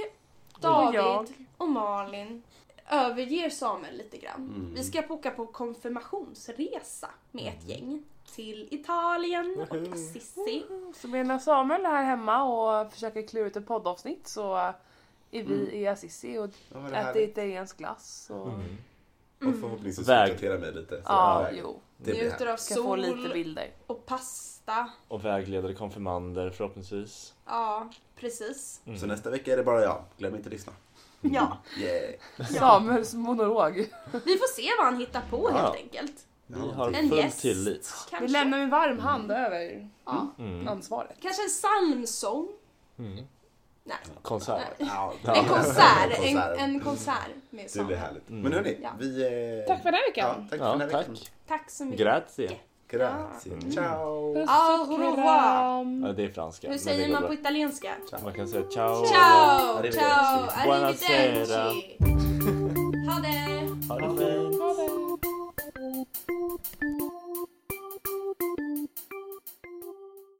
Speaker 2: David och,
Speaker 1: jag.
Speaker 2: Malin överger Samuel lite grann.
Speaker 4: Mm.
Speaker 2: Vi ska boka på konfirmationsresa med ett gäng till Italien och
Speaker 3: Woho.
Speaker 2: Assisi.
Speaker 1: Så medan Samuel är här hemma och försöker klura ut ett poddavsnitt så är vi i Assisi och
Speaker 4: Mm. Ja, men det här-
Speaker 1: äter italiensk glass. Och...
Speaker 4: Och
Speaker 2: Mm.
Speaker 4: förhoppningsvis
Speaker 3: Väg.
Speaker 4: uppdatera mig lite. Så
Speaker 1: Ja,
Speaker 4: väg.
Speaker 1: jo.
Speaker 4: Det blir
Speaker 2: Njuter
Speaker 4: här.
Speaker 2: av
Speaker 1: Ska få lite
Speaker 2: sol
Speaker 1: bilder.
Speaker 2: och pasta.
Speaker 3: Och vägledare, konfirmander förhoppningsvis.
Speaker 2: Ja, precis.
Speaker 4: Så nästa vecka är det bara jag. Glöm inte att lyssna. Mm.
Speaker 2: Ja,
Speaker 4: Yeah.
Speaker 1: Samuels monolog.
Speaker 2: vi får se vad han hittar på helt
Speaker 3: Ja.
Speaker 2: enkelt.
Speaker 3: Vi har
Speaker 2: En
Speaker 3: full
Speaker 2: gäst.
Speaker 3: tillit.
Speaker 2: Kanske.
Speaker 1: Vi lämnar en varm hand över
Speaker 2: ja.
Speaker 1: Mm. ansvaret.
Speaker 2: Kanske en psalmsång. Nej.
Speaker 3: Konsert.
Speaker 4: Ja,
Speaker 2: En konsert, en,
Speaker 4: Konsert.
Speaker 2: en konsert med
Speaker 4: Det blir
Speaker 2: sång.
Speaker 4: härligt. Men hörni,
Speaker 2: Ja.
Speaker 4: vi... eh,
Speaker 1: Mm. Tack för den här
Speaker 4: Ja,
Speaker 1: veckan.
Speaker 4: tack för
Speaker 3: Ja,
Speaker 4: den här
Speaker 3: tack.
Speaker 4: veckan.
Speaker 2: Tack så mycket.
Speaker 3: Grazie.
Speaker 4: Grazie. Ciao.
Speaker 1: Puss
Speaker 2: Au
Speaker 1: och
Speaker 2: revoir.
Speaker 1: kram.
Speaker 3: Ja, det är franska.
Speaker 2: Hur
Speaker 3: men
Speaker 2: säger
Speaker 3: det går
Speaker 2: man på
Speaker 3: bra.
Speaker 2: italienska?
Speaker 3: Man kan säga ciao.
Speaker 2: Ciao,
Speaker 4: Arrivederci.
Speaker 2: ciao,
Speaker 3: Buonasera.
Speaker 2: arrivederci. Ha det!
Speaker 3: Ha det fint.
Speaker 1: Ha det.